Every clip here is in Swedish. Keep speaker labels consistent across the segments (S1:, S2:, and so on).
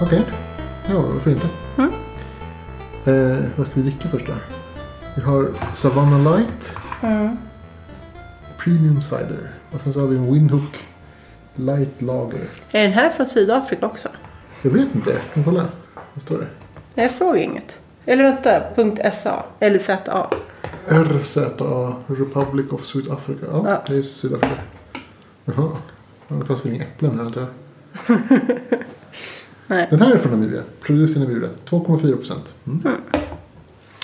S1: Okej. Ja, varför inte?
S2: Mm.
S1: Eh, vad ska vi dricka först då? Vi har Savannah Light
S2: Mm.
S1: Premium Cider. Och sen så har vi en Windhook Light Lager.
S2: Är den här från Sydafrika också?
S1: Jag vet inte. Kan du kolla? Vad står det?
S2: Jag såg inget. Eller vänta, punkt SA. Eller ZA.
S1: RZA Republic of South Africa. Ja,
S2: Ja.
S1: det är Sydafrika. Jaha. Ja, Det fanns väl inga äpplen här antar jag.
S2: Nej.
S1: Den här är från Namibia. Producerat i Namibia. 2,4 procent. Mm.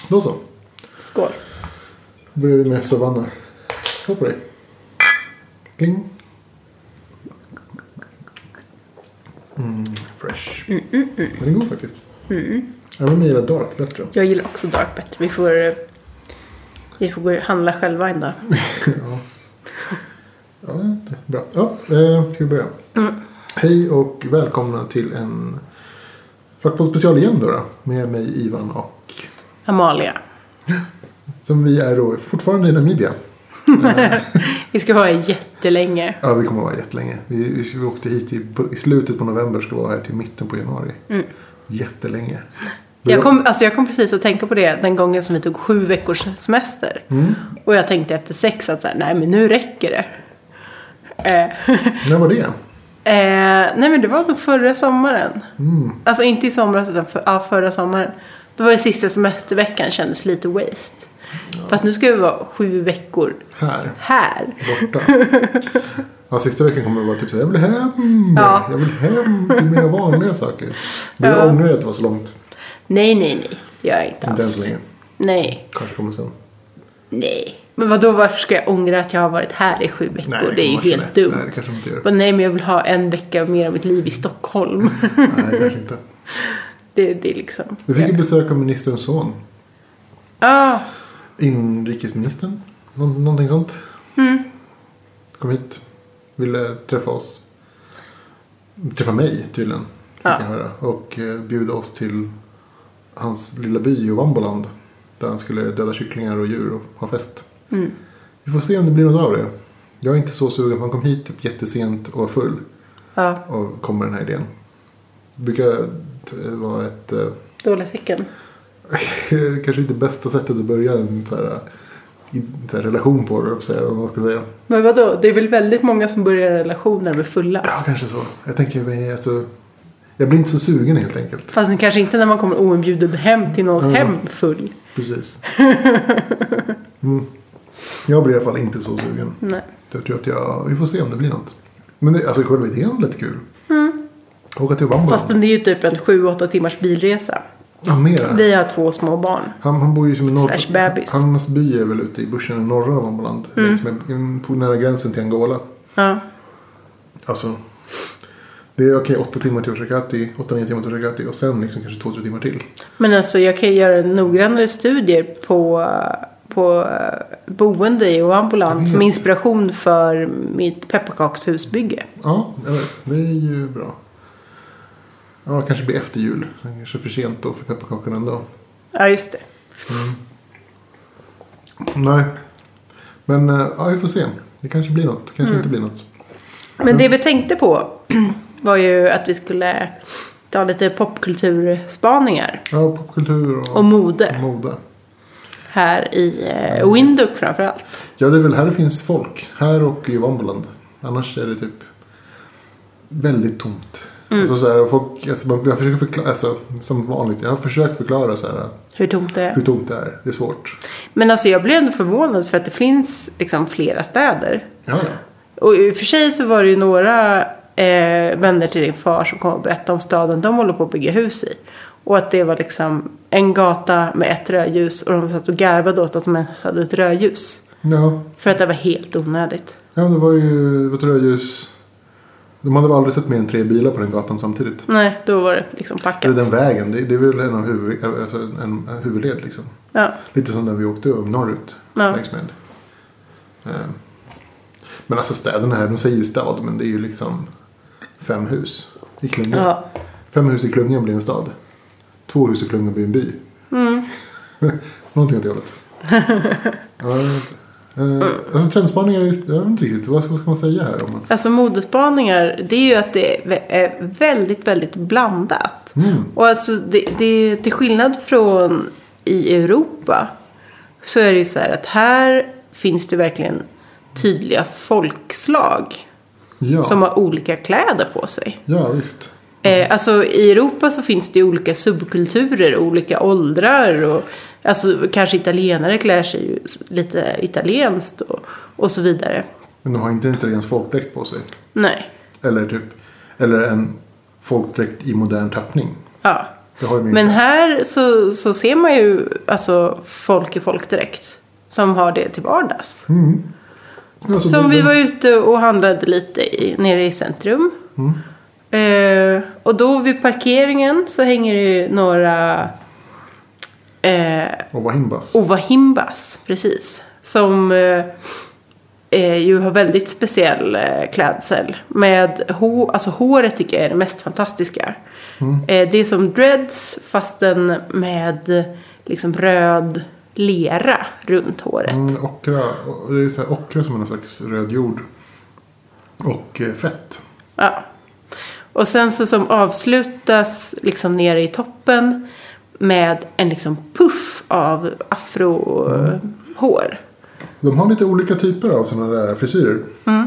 S1: Då så.
S2: Skål.
S1: Då börjar vi med Savanna. Skål på dig. Kling. Mm, fresh. Den är god faktiskt. Även om jag gillar dark bättre.
S2: Jag gillar också dark bättre. Vi får, eh, vi får gå och handla själva en dag.
S1: ja. ja, det är inte bra. Ja, eh, ska vi börja? Hej och välkomna till en Fackpoddspecial igen då, då. Med mig Ivan och
S2: Amalia.
S1: som vi är då fortfarande i Namibia.
S2: Vi ska vara här jättelänge.
S1: Ja, vi kommer att vara jättelänge. Vi, vi, vi åkte hit i, i slutet på november ska vara här till mitten på januari. Jättelänge.
S2: Mm. Jag kom, alltså jag kom precis att tänka på det den gången som vi tog sju veckors semester.
S1: Mm.
S2: Och jag tänkte efter sex att så här, nej men nu räcker det. Eh,
S1: När var det?
S2: Eh, nej men det var väl förra sommaren.
S1: Mm,
S2: Alltså inte i somras utan för, ja, förra sommaren. Då var det sista semesterveckan kändes lite waste. Fast nu ska vi vara sju veckor
S1: Här.
S2: här.
S1: Borta. Ja, sista veckan kommer jag vara typ så här, jag vill hem.
S2: Ja.
S1: Jag vill hem till mina vanliga saker. Men jag
S2: Ja.
S1: ångrar att det var så långt.
S2: Nej, nej, nej. Det gör jag inte
S1: Inte än
S2: alls.
S1: så länge.
S2: Nej,
S1: Kanske kommer sen.
S2: nej. Men vadå, varför ska jag ångra att jag har varit här i sju veckor?
S1: det
S2: det är ju
S1: kanske
S2: helt
S1: det.
S2: dumt.
S1: Nej, det kanske man inte gör.
S2: Bara, nej, men jag vill ha en vecka mer av mitt liv i Stockholm.
S1: Nej, kanske inte.
S2: det, det är liksom...
S1: Vi fick ju besök av ministerns son.
S2: Ja,
S1: Inrikesministern? Nå- någonting sånt.
S2: Mm.
S1: Kom hit. Ville träffa oss. Träffa mig tydligen. Fick
S2: Ja.
S1: jag höra. Och eh, bjuda oss till hans lilla by i Vamboland. Där han skulle döda kycklingar och djur och ha fest.
S2: Mm.
S1: Vi får se om det blir något av det. Jag är inte så sugen. Han kom hit typ jättesent och var full.
S2: ja,
S1: Och kom med den här idén. Det brukar t- vara ett... eh,
S2: dåliga tecken.
S1: kanske inte bästa sättet att börja en så här, eh, i- så här relation på det, så här, vad man ska säga.
S2: Men vadå, det är väl väldigt många som börjar relationer med fulla.
S1: Ja, kanske så. Jag tänker mig, alltså, jag blir inte så sugen helt enkelt.
S2: Fast kanske inte när man kommer oinbjuden hem till någons
S1: Mm.
S2: hem full.
S1: Precis. Mm. Jag blir i alla fall inte så sugen.
S2: Nej.
S1: Jag tror att jag, vi får se om det blir något. Men det, alltså själva idén lät kul. Åka till Vambolan.
S2: Mm. Fast det är ju typ en 7-8 timmars bilresa.
S1: Ja, mera.
S2: Vi har två små barn.
S1: Han, han bor ju som en
S2: Slash Mm. bebis.
S1: Hans by är väl ute i bushen i norra Vamboland. Längs med, på nära gränsen till Angola.
S2: Ja.
S1: Alltså. Det är okej, åtta timmar till Oshakati, åtta, nio timmar till Oshakati och sen liksom kanske två, tre timmar till.
S2: Men alltså jag kan ju göra noggrannare studier på, på eh, boende i
S1: Jag
S2: Ouamboland
S1: vet.
S2: som inspiration för mitt pepparkakshusbygge.
S1: Ja, jag vet. Det är ju bra. Ja, kanske blir efter jul. Sen Kanske för sent då för pepparkakorna ändå. Mm.
S2: Ja, just det.
S1: Nej. Men eh, ja, vi får se. Det kanske blir något. Kanske inte blir något.
S2: Men det vi tänkte på var ju att vi skulle ta lite popkulturspaningar.
S1: Ja, popkultur och,
S2: Och mode.
S1: mode.
S2: Här i eh, Windhoek framförallt.
S1: Ja, det är väl här det finns folk. Här och i Vamboland. Annars är det typ väldigt tomt. Alltså så här, folk, alltså, man- jag försöker förklara, alltså, som vanligt, jag har försökt förklara så här,
S2: Hur tomt det är.
S1: hur tomt det är. Det är svårt.
S2: Men alltså jag blev ändå förvånad för att det finns liksom flera städer.
S1: Ja, ja.
S2: Och i och för sig så var det ju några eh, vänner till din far som kom och berättade om staden de håller på att bygga hus i. Och att det var liksom en gata med ett rödljus och de satt och garvade åt att de ens hade ett rödljus.
S1: Ja,
S2: För att det var helt onödigt.
S1: ja det var ju ett rödljus. De hade väl aldrig sett mer än tre bilar på den gatan samtidigt.
S2: Nej, då var det liksom packat.
S1: Eller den vägen, det, det är väl en, av huvud, alltså en, en huvudled liksom.
S2: Ja,
S1: Lite som den vi åkte upp norrut
S2: Ja.
S1: längs med. Eh, Men alltså städerna här, de säger ju stad men det är ju liksom fem hus i Klunga.
S2: ja.
S1: Fem hus i Klunga blir en stad. Två hus i
S2: Mm.
S1: Klunga blir en by. Någonting åt det hållet. ja, jag vet inte. Eh, Alltså trendspaningar, jag vet inte riktigt. Vad ska, vad ska man säga här? Om man...
S2: Alltså modespaningar, det är ju att det är vä- är väldigt, väldigt blandat.
S1: Mm.
S2: Och alltså det, det, till skillnad från i Europa så är det ju så här att här finns det verkligen tydliga folkslag
S1: Ja,
S2: som har olika kläder på sig.
S1: ja visst.
S2: Eh, alltså i Europa så finns det ju olika subkulturer, olika åldrar och alltså kanske italienare klär sig ju lite italienskt och, och så vidare.
S1: Men de har inte en italiensk folkdräkt på sig.
S2: Nej,
S1: Eller typ, eller en folkdräkt i modern tappning.
S2: ja.
S1: Det har de ju
S2: Men
S1: inte.
S2: här så, så ser man ju alltså folk i folk direkt. Som har det till vardags.
S1: Mm. Alltså,
S2: Som
S1: de-
S2: vi
S1: de-
S2: var ute och handlade lite i, nere i centrum. Eh, och då vid parkeringen så hänger det ju några eh,
S1: Och var himbas.
S2: Ova Himbas, precis. Som eh, eh, ju har väldigt speciell eh, klädsel. Med hå- alltså håret tycker jag är det mest fantastiska. Eh, det är som dreads fastän med liksom röd lera runt håret.
S1: Mm, ockra, och- det är så här, ockra som är någon slags röd jord. Och eh, fett.
S2: Ja. Och sen så som avslutas liksom nere i toppen med en liksom puff av afrohår.
S1: De har lite olika typer av sådana där frisyrer.
S2: Mm.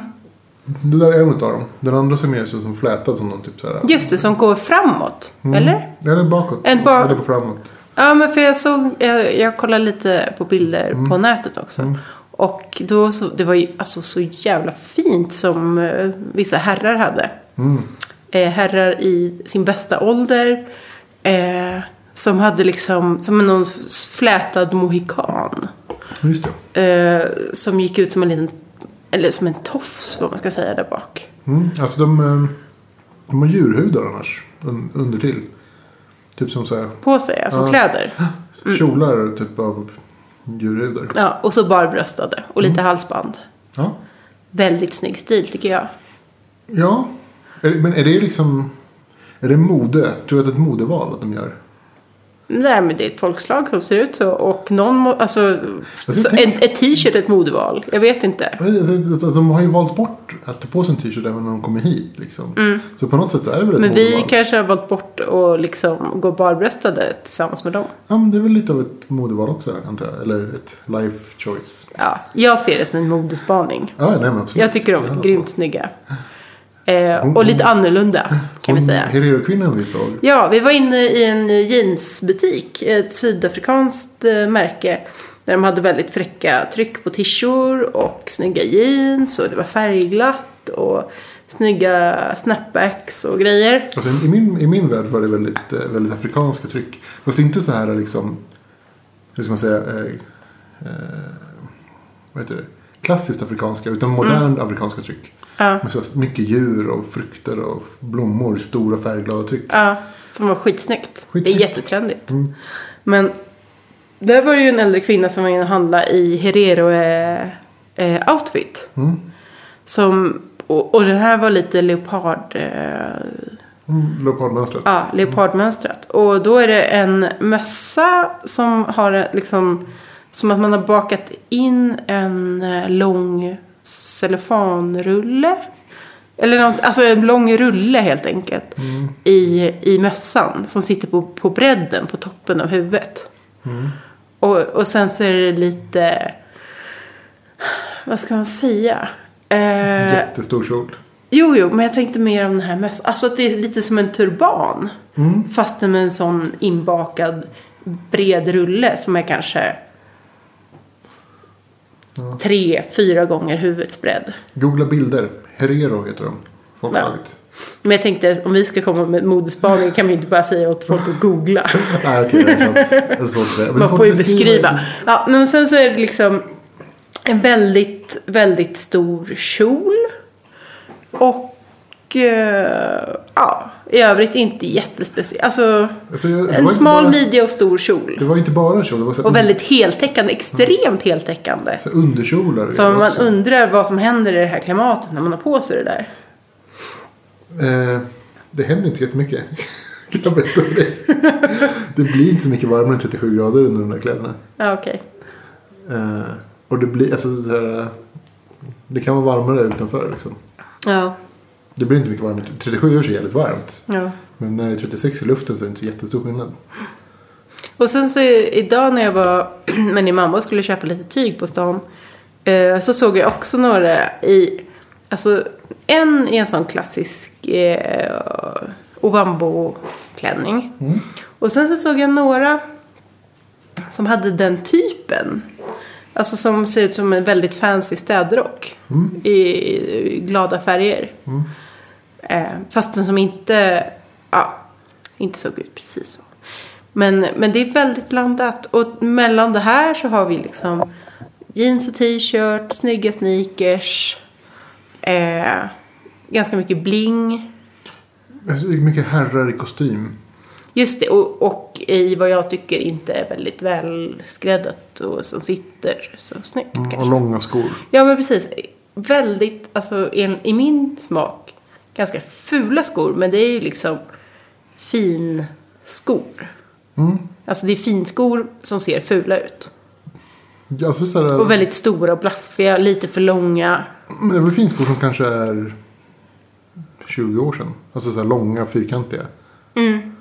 S1: Det där är en utav dem. Den andra ser mer ut som flätad som någon typ såhär.
S2: Just det, som går framåt.
S1: Mm.
S2: Eller?
S1: Eller bakåt.
S2: En ba-
S1: Eller på framåt.
S2: Ja, men för jag såg, jag, jag kollade lite på bilder på nätet också. Och då så, det var ju alltså så jävla fint som eh, vissa herrar hade.
S1: Mm.
S2: Eh, herrar i sin bästa ålder. Eh, som hade liksom, som någon flätad mohikan.
S1: Just det.
S2: Eh, som gick ut som en liten, eller som en tofs vad man ska säga där bak.
S1: Mm. Alltså de, eh, de har djurhudar annars. Un, under till. Typ som såhär
S2: På sig, alltså
S1: Ja.
S2: kläder. Mm.
S1: kjolar typ av djurhudar.
S2: Ja, och så barbröstade och lite
S1: Mm.
S2: halsband.
S1: Ja.
S2: Väldigt snygg stil tycker jag.
S1: Ja. Är, men är det liksom. Är det mode? Tror du att det är ett modeval att de gör?
S2: Nej men det är ett folkslag som ser ut så och någon, må- alltså, så,
S1: tänk-
S2: en, ett t-shirt är ett modeval, jag vet inte.
S1: Jag vet inte, att- att- att De har ju valt bort att ta på sig en t-shirt även när de kommer hit. Liksom. Så på något sätt så är det väl ett
S2: Mm. Men vi
S1: modeval.
S2: kanske har valt bort att liksom gå barbröstade tillsammans med dem.
S1: Ja, men det är väl lite av ett modeval också antar jag. Eller ett life choice.
S2: Ja, jag ser det som en modespaning.
S1: Ja, nej, men absolut.
S2: Jag tycker de är
S1: Ja. Mm.
S2: grymt snygga. Eh,
S1: Hon-
S2: och lite annorlunda kan vi
S1: Hon-
S2: säga.
S1: Herero-kvinnan vi såg.
S2: Ja, vi var inne i en jeansbutik, ett sydafrikanskt eh, märke. Där de hade väldigt fräcka tryck på tishor och snygga jeans och det var färgglatt och snygga snapbacks och grejer.
S1: Alltså, i, min, I min värld var det väldigt, eh, väldigt afrikanska tryck. Fast inte så här liksom... Hur ska man säga? Eh, eh, vad heter det? Klassiskt afrikanska, utan
S2: Mm.
S1: modernt afrikanska tryck.
S2: Ja.
S1: Med så mycket djur och frukter och f- blommor. Stora färgglada tryck.
S2: Ja, som var skitsnyggt. Det är
S1: Skitsnyggt.
S2: jättetrendigt. Men där var det ju en äldre kvinna som var inne och handlade i Herero-outfit. Som, och, och den här var lite leopard... Eh,
S1: Mm, Leopardmönstret.
S2: Ja, leopardmönstret. Och då är det en mössa som har en- liksom som att man har bakat in en eh, lång cellofanrulle. Eller något, alltså en lång rulle helt enkelt. I, I mössan som sitter på, på bredden på toppen av huvudet. Och, och sen så är det lite, vad ska man säga? Eh,
S1: Jättestor kjol.
S2: Jo, jo, men jag tänkte mer om den här mössan. Alltså att det är lite som en turban.
S1: Mm.
S2: Fast med en sån inbakad bred rulle som är kanske tre, fyra gånger huvudets bredd.
S1: Googla bilder. Herero heter de. Folklaget.
S2: Men jag tänkte om vi ska komma med modespaning kan vi inte bara säga åt folk att googla.
S1: Nej, Ah, okej, det är sant. Det är svårt att säga. Men det är
S2: Man
S1: svårt
S2: får ju
S1: att
S2: beskriva. Ja, men sen så är det liksom en väldigt, väldigt stor kjol. Och eh, ja, i övrigt inte jättespeciell. Alltså
S1: Alltså, jag- det var
S2: en
S1: inte
S2: smal
S1: bara-
S2: midja och stor kjol.
S1: Det var inte bara en kjol. Det var så här
S2: Och
S1: un-
S2: väldigt heltäckande, extremt heltäckande.
S1: så här underkjolar.
S2: Så man
S1: Mm. också.
S2: undrar vad som händer i det här klimatet när man har på sig det där.
S1: Eh, det händer inte jättemycket. Kan jag berätta för dig. Det blir inte så mycket varmare än 37 grader under de där kläderna.
S2: Ja, okej.
S1: Eh, Och det blir, alltså så här, det kan vara varmare utanför liksom.
S2: Ja.
S1: Det blir inte mycket varmt. 37 är så jävligt varmt.
S2: ja.
S1: Men när det är 36 i luften så är det inte så jättestor skillnad.
S2: Och sen så i- idag när jag var med min mamma och skulle köpa lite tyg på stan. Eh, så såg jag också några i, alltså en i en sån klassisk eh, Ovambo-klänning. Och sen så såg jag några som hade den typen. Alltså som ser ut som en väldigt fancy städrock. I, i glada färger. Eh, fast den som inte, ja, inte såg ut precis så. Men, men det är väldigt blandat. Och mellan det här så har vi liksom jeans och t-shirt, snygga sneakers. Eh, ganska mycket bling.
S1: Alltså, det är mycket herrar i kostym.
S2: Just det, och, och i vad jag tycker inte är väldigt välskräddat och som sitter så snyggt.
S1: Mm, Och
S2: kanske.
S1: långa skor.
S2: Ja, men precis. Väldigt, alltså en, i min smak, ganska fula skor. Men det är ju liksom fin skor.
S1: Mm.
S2: Alltså det är finskor som ser fula ut.
S1: Alltså så här,
S2: Och väldigt stora och blaffiga, lite för långa.
S1: Men det är väl finskor som kanske är 20 år sedan. Alltså så här långa, fyrkantiga.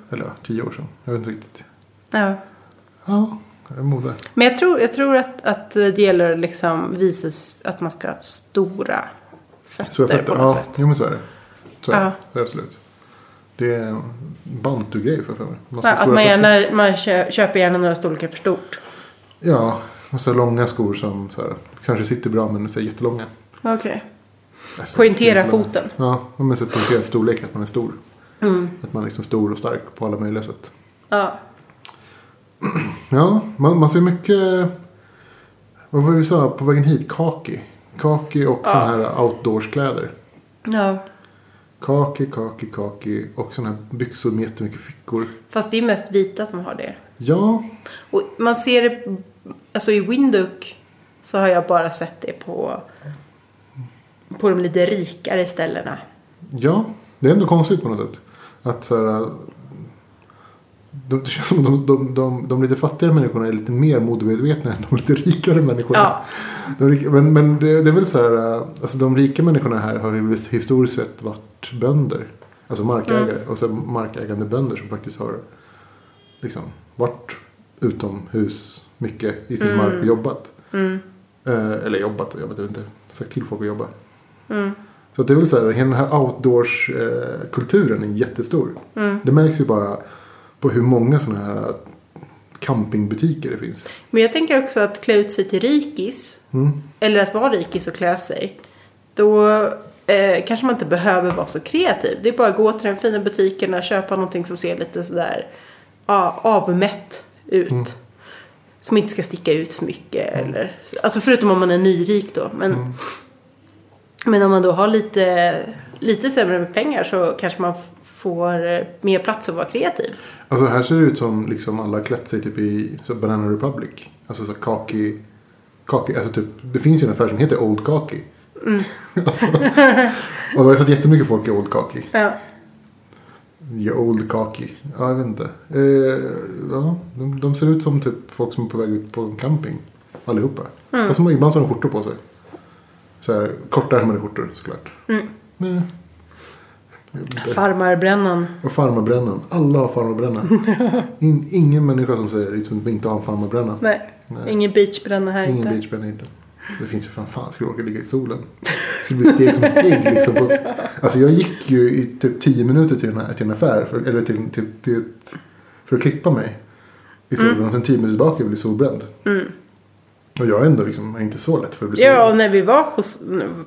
S1: Eller ja, 10 år sedan. Jag vet inte riktigt.
S2: Ja.
S1: Ja, det är mode.
S2: Men jag tror, jag tror att, att det gäller liksom visas att man ska ha stora fötter,
S1: Så jag fattar.
S2: på något
S1: Ja,
S2: sätt.
S1: jo men så är det. Så är
S2: Ja.
S1: det. det. är Absolut. Det är en bantugrej för för mig. Man
S2: Ja,
S1: ska ha
S2: att
S1: stora
S2: man,
S1: fästen.
S2: gärna, man kö- köper gärna några storlekar för stort.
S1: Ja, och så här långa skor som så här, kanske sitter bra men så här jättelånga.
S2: Okej.
S1: Alltså,
S2: Poängtera
S1: jättelånga.
S2: foten. Mm.
S1: Ja, men så här poängtera storlek, att man är stor. Att man är liksom stor och stark på alla möjliga sätt.
S2: Ja.
S1: Ja, man, man ser mycket... Vad var det vi sa på vägen hit? Kaki. Kaki och sådana här outdoorskläder.
S2: ja.
S1: Kaki, kaki, kaki och sådana här byxor med jättemycket fickor.
S2: Fast det är mest vita som har det.
S1: Ja,
S2: Och man ser det, alltså i Windhoek så har jag bara sett det på, på de lite rikare ställena.
S1: ja. Det är ändå konstigt på något sätt. Att så här, de, det känns som att de, de, de, de lite fattigare människorna är lite mer modemedvetna än de lite rikare människorna.
S2: Ja.
S1: De, rik- men men det, det är väl så här, eh, alltså de rika människorna här har ju historiskt sett varit bönder. Alltså markägare och sen markägande bönder som faktiskt har liksom varit utomhus mycket i sin mark och jobbat.
S2: mm.
S1: Eh, eller jobbat och jobbat, jag vet inte. Sagt till folk att jobba. Så att det är väl så här, den här outdoors-kulturen är jättestor. Det märks ju bara på hur många sådana här campingbutiker det finns. Mm.
S2: Men jag tänker också att klä ut sig till rikis, eller att vara rikis och klä sig, då eh, kanske man inte behöver vara så kreativ. Det är bara att gå till den fina butiken och köpa någonting som ser lite sådär ja, avmätt ut.
S1: Mm.
S2: Som inte ska sticka ut för mycket. Eller, alltså förutom om man är nyrik då. Men,
S1: Mm.
S2: men om man då har lite, lite sämre med pengar så kanske man f- får eh, mer plats att vara kreativ.
S1: Alltså här ser det ut som liksom alla har klätt sig typ i så Banana Republic. Alltså så kaki, kaki, alltså typ, det finns ju en affär som heter Old Kaki. alltså, och jag har sett jättemycket folk i Old Kaki.
S2: Ja.
S1: Ja, old Kaki. Ja, jag vet inte. Eh, ja, de, de ser ut som typ folk som är på väg ut på en camping. Allihopa. Fast de, ibland så har de skjortor på sig. Så här, kortärmade skjortor såklart. Men, jag vet inte.
S2: Farmarbrännan.
S1: Och farmarbrännan. Alla har farmarbränna. In, ingen människa som säger liksom, att vi inte har en farmarbränna.
S2: Nej.
S1: Nej.
S2: Ingen beachbränna här
S1: Ingen
S2: inte.
S1: beachbränna inte. Det finns ju fan fan, skulle jag orka ligga i solen. Skulle bli stekt som ett ägg liksom. På, alltså jag gick ju i typ 10 minuter till en, här- till en affär. För, eller till, till, till ett, för att klippa mig. I solen.
S2: Mm.
S1: Och sen 10 minuter tillbaka blev jag solbränd. Och jag är ändå liksom inte så lätt för att bli
S2: Ja, och
S1: solbränd.
S2: när vi var på, s-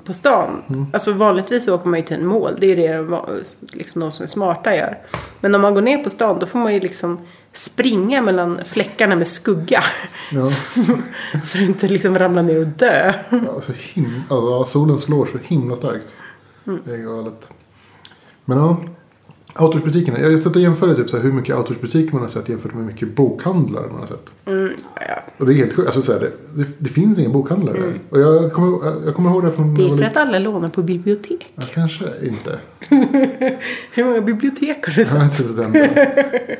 S2: på stan. Alltså vanligtvis så åker man ju till en mål. Det är det de va- liksom de som är smarta gör. Men om man går ner på stan då får man ju liksom springa mellan fläckarna med skugga.
S1: Ja,
S2: För att inte liksom ramla ner och dö.
S1: ja, så him- alltså, solen slår så himla starkt.
S2: Mm.
S1: Det är galet. Men ja. Outdoorsbutikerna. Jag satt och jämförde typ så här hur mycket outdoorsbutiker man har sett jämfört med hur mycket bokhandlar man har sett.
S2: Mm, Ja,
S1: Och det är helt sjukt. Alltså, så här, det, det, det finns inga bokhandlare. här. Och jag kommer, jag kommer ihåg det från... när jag
S2: Mm. Det är
S1: var
S2: för
S1: liten.
S2: att alla lånar på bibliotek.
S1: Ja, kanske inte.
S2: Hur många bibliotek har du
S1: Jag har
S2: sett?
S1: inte sett den.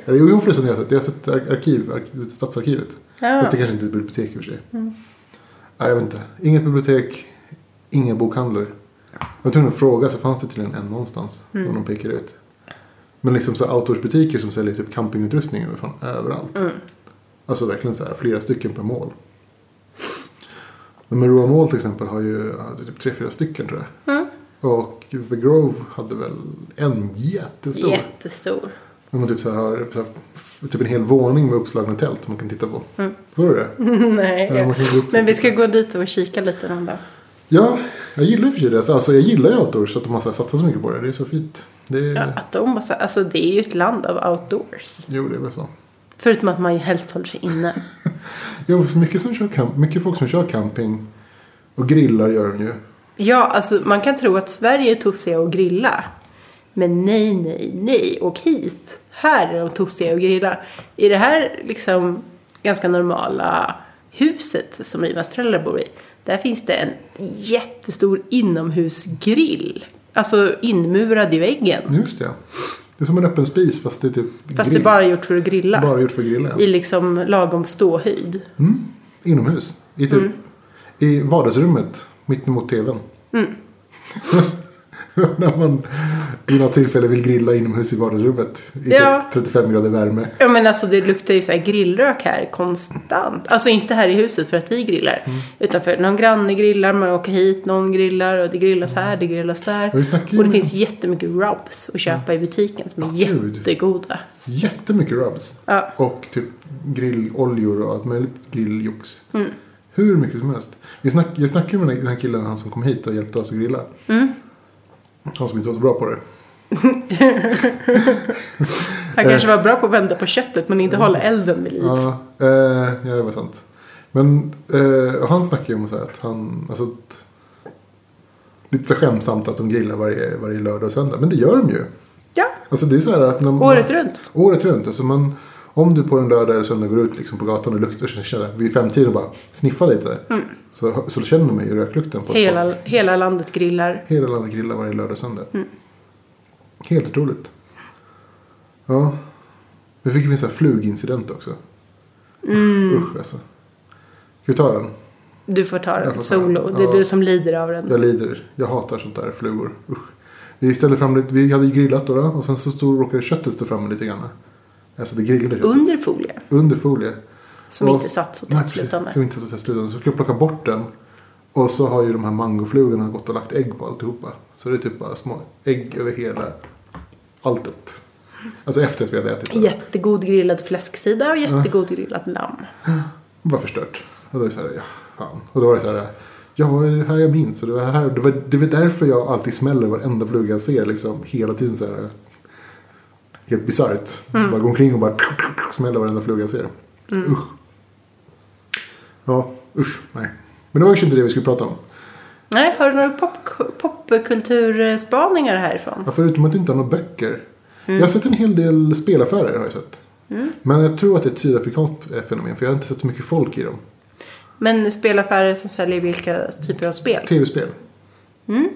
S1: Eller, Jo, förresten jag har sett. Jag har sett ar- arkiv, ark- stadsarkivet.
S2: Ja.
S1: Fast det kanske inte är ett bibliotek i och för sig. Nej, jag vet inte. Inget bibliotek, inga bokhandlare. Jag var tvungen att fråga så fanns det tydligen en någonstans. Som de pekade ut. Men liksom så här outdoorsbutiker som säljer typ campingutrustning över- från överallt. Alltså verkligen så här flera stycken per mål. Men Roa Mall till exempel har ju hade typ tre, fyra stycken tror jag.
S2: Mm.
S1: Och The Grove hade väl en jättestor.
S2: Jättestor.
S1: Där man typ, så här har, så här, f- typ en hel våning med uppslagna tält som man kan titta på. Såg du det?
S2: Nej.
S1: Ja, man kan gå upp
S2: Men vi
S1: till-
S2: ska gå dit och kika lite någon dag.
S1: Ja, jag gillar ju för sig det. Alltså, jag gillar ju outdoors att de har så här satsat så mycket på det. Det är så fint. Det är...
S2: Ja, att de bara, så- alltså det är ju ett land av outdoors.
S1: Jo, det är väl så.
S2: Förutom att man ju helst håller sig inne.
S1: Jo, för så mycket, som kör camp... mycket folk som kör camping och grillar gör de ju.
S2: Ja, alltså man kan tro att Sverige är tossiga och grilla. Men nej, nej, nej. Åk hit. Här är de tossiga och grilla. I det här liksom ganska normala huset som vi föräldrar bor i. Där finns det en jättestor inomhusgrill. Alltså inmurad i väggen.
S1: Just det. Det är som en öppen spis fast det är typ
S2: Fast det
S1: grill.
S2: är bara gjort för att grilla.
S1: bara gjort för att grilla.
S2: I
S1: ja.
S2: liksom lagom ståhöjd.
S1: Mm. Inomhus. I, typ...
S2: Mm.
S1: I vardagsrummet mittemot tvn.
S2: Mm.
S1: När man vid något tillfälle vill grilla inomhus i vardagsrummet. I
S2: Ja.
S1: typ 35 grader värme.
S2: Ja men alltså det luktar ju så här grillrök här konstant. Alltså inte här i huset för att vi grillar.
S1: Mm.
S2: Utan för någon granne grillar, man åker hit, någon grillar och det grillas här, det grillas där.
S1: vi snackar ju
S2: Och det
S1: med-
S2: finns jättemycket rubs att köpa i butiken som är
S1: gud.
S2: jättegoda.
S1: Jättemycket rubs.
S2: Ja.
S1: Och typ grilloljor och allt möjligt grilljox. Hur mycket som helst. Vi snack, jag snackade ju med den här killen, han som kom hit och hjälpte oss att grilla. Han som inte var så bra på det.
S2: Han kanske var bra på att vända på köttet men inte hålla elden vid liv.
S1: Eh. Ja, eh, ja det var sant. Men eh, och han snackade ju om så här att han, alltså att, lite så skämtsamt att de grillar varje, varje lördag och söndag. Men det gör de ju.
S2: Ja,
S1: Alltså det är så här att när man,
S2: året runt.
S1: Året runt. Alltså man, om du på en lördag eller söndag går ut liksom på gatan och luktar så känner vid femtiden och bara sniffar lite. Så, så känner man ju röklukten. På ett
S2: Hela,
S1: folk.
S2: hela landet grillar.
S1: Hela landet grillar varje lördag och söndag. Helt otroligt. Ja. Nu fick vi en sån här flugincident också. Usch alltså. Ska vi ta den?
S2: Du får ta
S1: Jag får
S2: den
S1: ta
S2: solo.
S1: den.
S2: Det är
S1: Ja.
S2: du som lider av den.
S1: Jag lider. Jag hatar sånt där flugor. Usch. Vi ställde fram lite, vi hade ju grillat då, då och sen så stod, råkade köttet stå framme lite grann. Alltså det grillade köttet.
S2: Under folie.
S1: Under folie.
S2: Som
S1: Och-
S2: inte satt så
S1: Nej,
S2: tätt
S1: precis.
S2: slutande.
S1: Som inte satt så tätt slutande. Så skulle jag plocka bort den. Och så har ju de här mangoflugorna gått och lagt ägg på alltihopa. Så det är typ bara små ägg över hela alltet. Alltså efter att vi hade ätit det.
S2: Jättegod grillad fläsksida och jättegod grillad lamm.
S1: Bara förstört. Och då är det så här, ja, fan. Och då var det så här, ja, det var det här jag minns. Och det var, här, det var, det var därför jag alltid smäller varenda fluga jag ser. Liksom hela tiden så här. Helt bisarrt. Bara går omkring och bara smäller varenda fluga jag ser. Usch. Ja, usch, nej. Men det var kanske inte det vi skulle prata om.
S2: Nej, har du några pop- popkulturspaningar härifrån?
S1: Ja, förutom att det inte har några böcker. Jag
S2: Mm.
S1: har sett en hel del spelaffärer har jag sett. Men jag tror att det är ett sydafrikanskt eh, fenomen. För jag har inte sett så mycket folk i dem.
S2: Men spelaffärer som säljer vilka typer av spel?
S1: Tv-spel. Mm.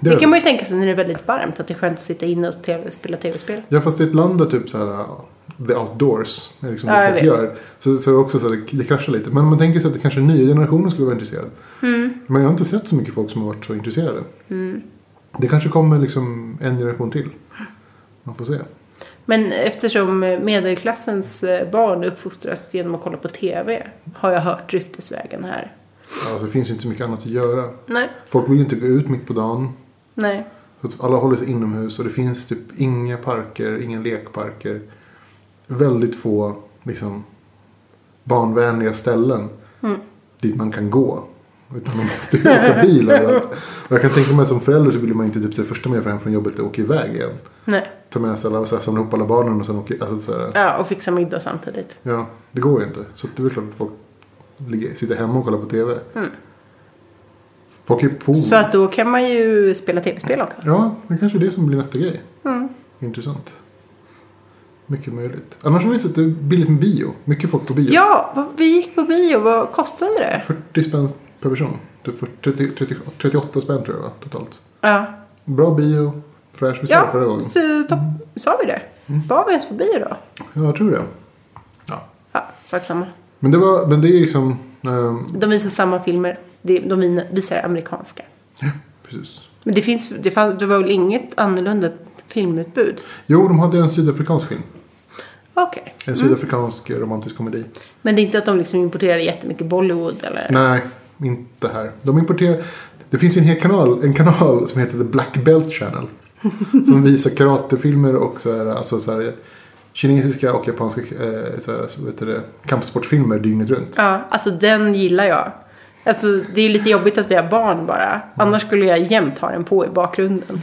S1: Det
S2: Det
S1: är
S2: kan man ju tänka sig när det är väldigt varmt, att det är skönt att sitta inne och TV, spela tv-spel.
S1: Ja, fast det är ett land där typ så här ja, the outdoors, är liksom
S2: Ja,
S1: det
S2: jag
S1: folk
S2: vet.
S1: gör. Så, så är det också så här, det kraschar lite. Men man tänker sig att det kanske nya generationen skulle vara intresserad.
S2: Mm.
S1: Men jag har inte sett så mycket folk som har varit så intresserade. Det kanske kommer liksom en generation till. Man får se.
S2: Men eftersom medelklassens eh, barn uppfostras genom att kolla på tv, har jag hört ryktesvägen här.
S1: Alltså, det finns ju inte så mycket annat att göra.
S2: Nej,
S1: Folk vill ju inte gå ut mitt på dagen.
S2: nej.
S1: Så att alla håller sig inomhus och det finns typ inga parker, inga lekparker. Väldigt få liksom, barnvänliga ställen
S2: Mm.
S1: dit man kan gå. Utan man måste ju åka bil överallt. Och jag kan tänka mig att som förälder så vill man ju inte typ så det första man gör för hem från jobbet är att åka iväg igen.
S2: nej.
S1: Ta med sig alla och så här, samla ihop alla barnen och sen åka alltså, så här,
S2: Ja, och fixa middag samtidigt.
S1: Ja, det går ju inte. Så att det är väl klart att folk ligger, sitter hemma och kollar på TV. Folk är på.
S2: Mm. Så att då kan man ju spela tv-spel också. Mm.
S1: Ja, det kanske är det som blir nästa grej. Intressant. Mycket möjligt. Annars har vi sett det billigt med bio. Mycket folk på bio.
S2: Ja, vad- vi gick på bio. Vad kostade det?
S1: 40 spänn per person. Typ Det är för 30, 30, 38 spänn tror jag va, totalt.
S2: Ja,
S1: Bra bio. Fräsch. Vi sa det förra
S2: ja
S1: gången. Mm.
S2: så, topp- sa vi det? Var vi ens på bio då?
S1: Ja, jag tror det. Ja.
S2: Ja, sak samma.
S1: Men det, var, men det är liksom... Ehm,
S2: De visar samma filmer. De de visar amerikanska.
S1: ja, precis.
S2: Men det, finns, det, fann, det var väl inget annorlunda filmutbud?
S1: Jo, de hade en sydafrikansk film.
S2: Okej.
S1: En sydafrikansk romantisk komedi.
S2: Men det är inte att de liksom importerar jättemycket Bollywood eller?
S1: Nej, inte här. De importerar... Det finns ju en hel kanal, en kanal som heter The Black Belt Channel. som visar karatefilmer och så här, alltså så här, kinesiska och japanska eh, så här, så vet du det, kampsportfilmer dygnet runt.
S2: Ja, alltså den gillar jag. Alltså det är lite jobbigt att vi har barn bara. Annars skulle jag jämt ha den på i bakgrunden.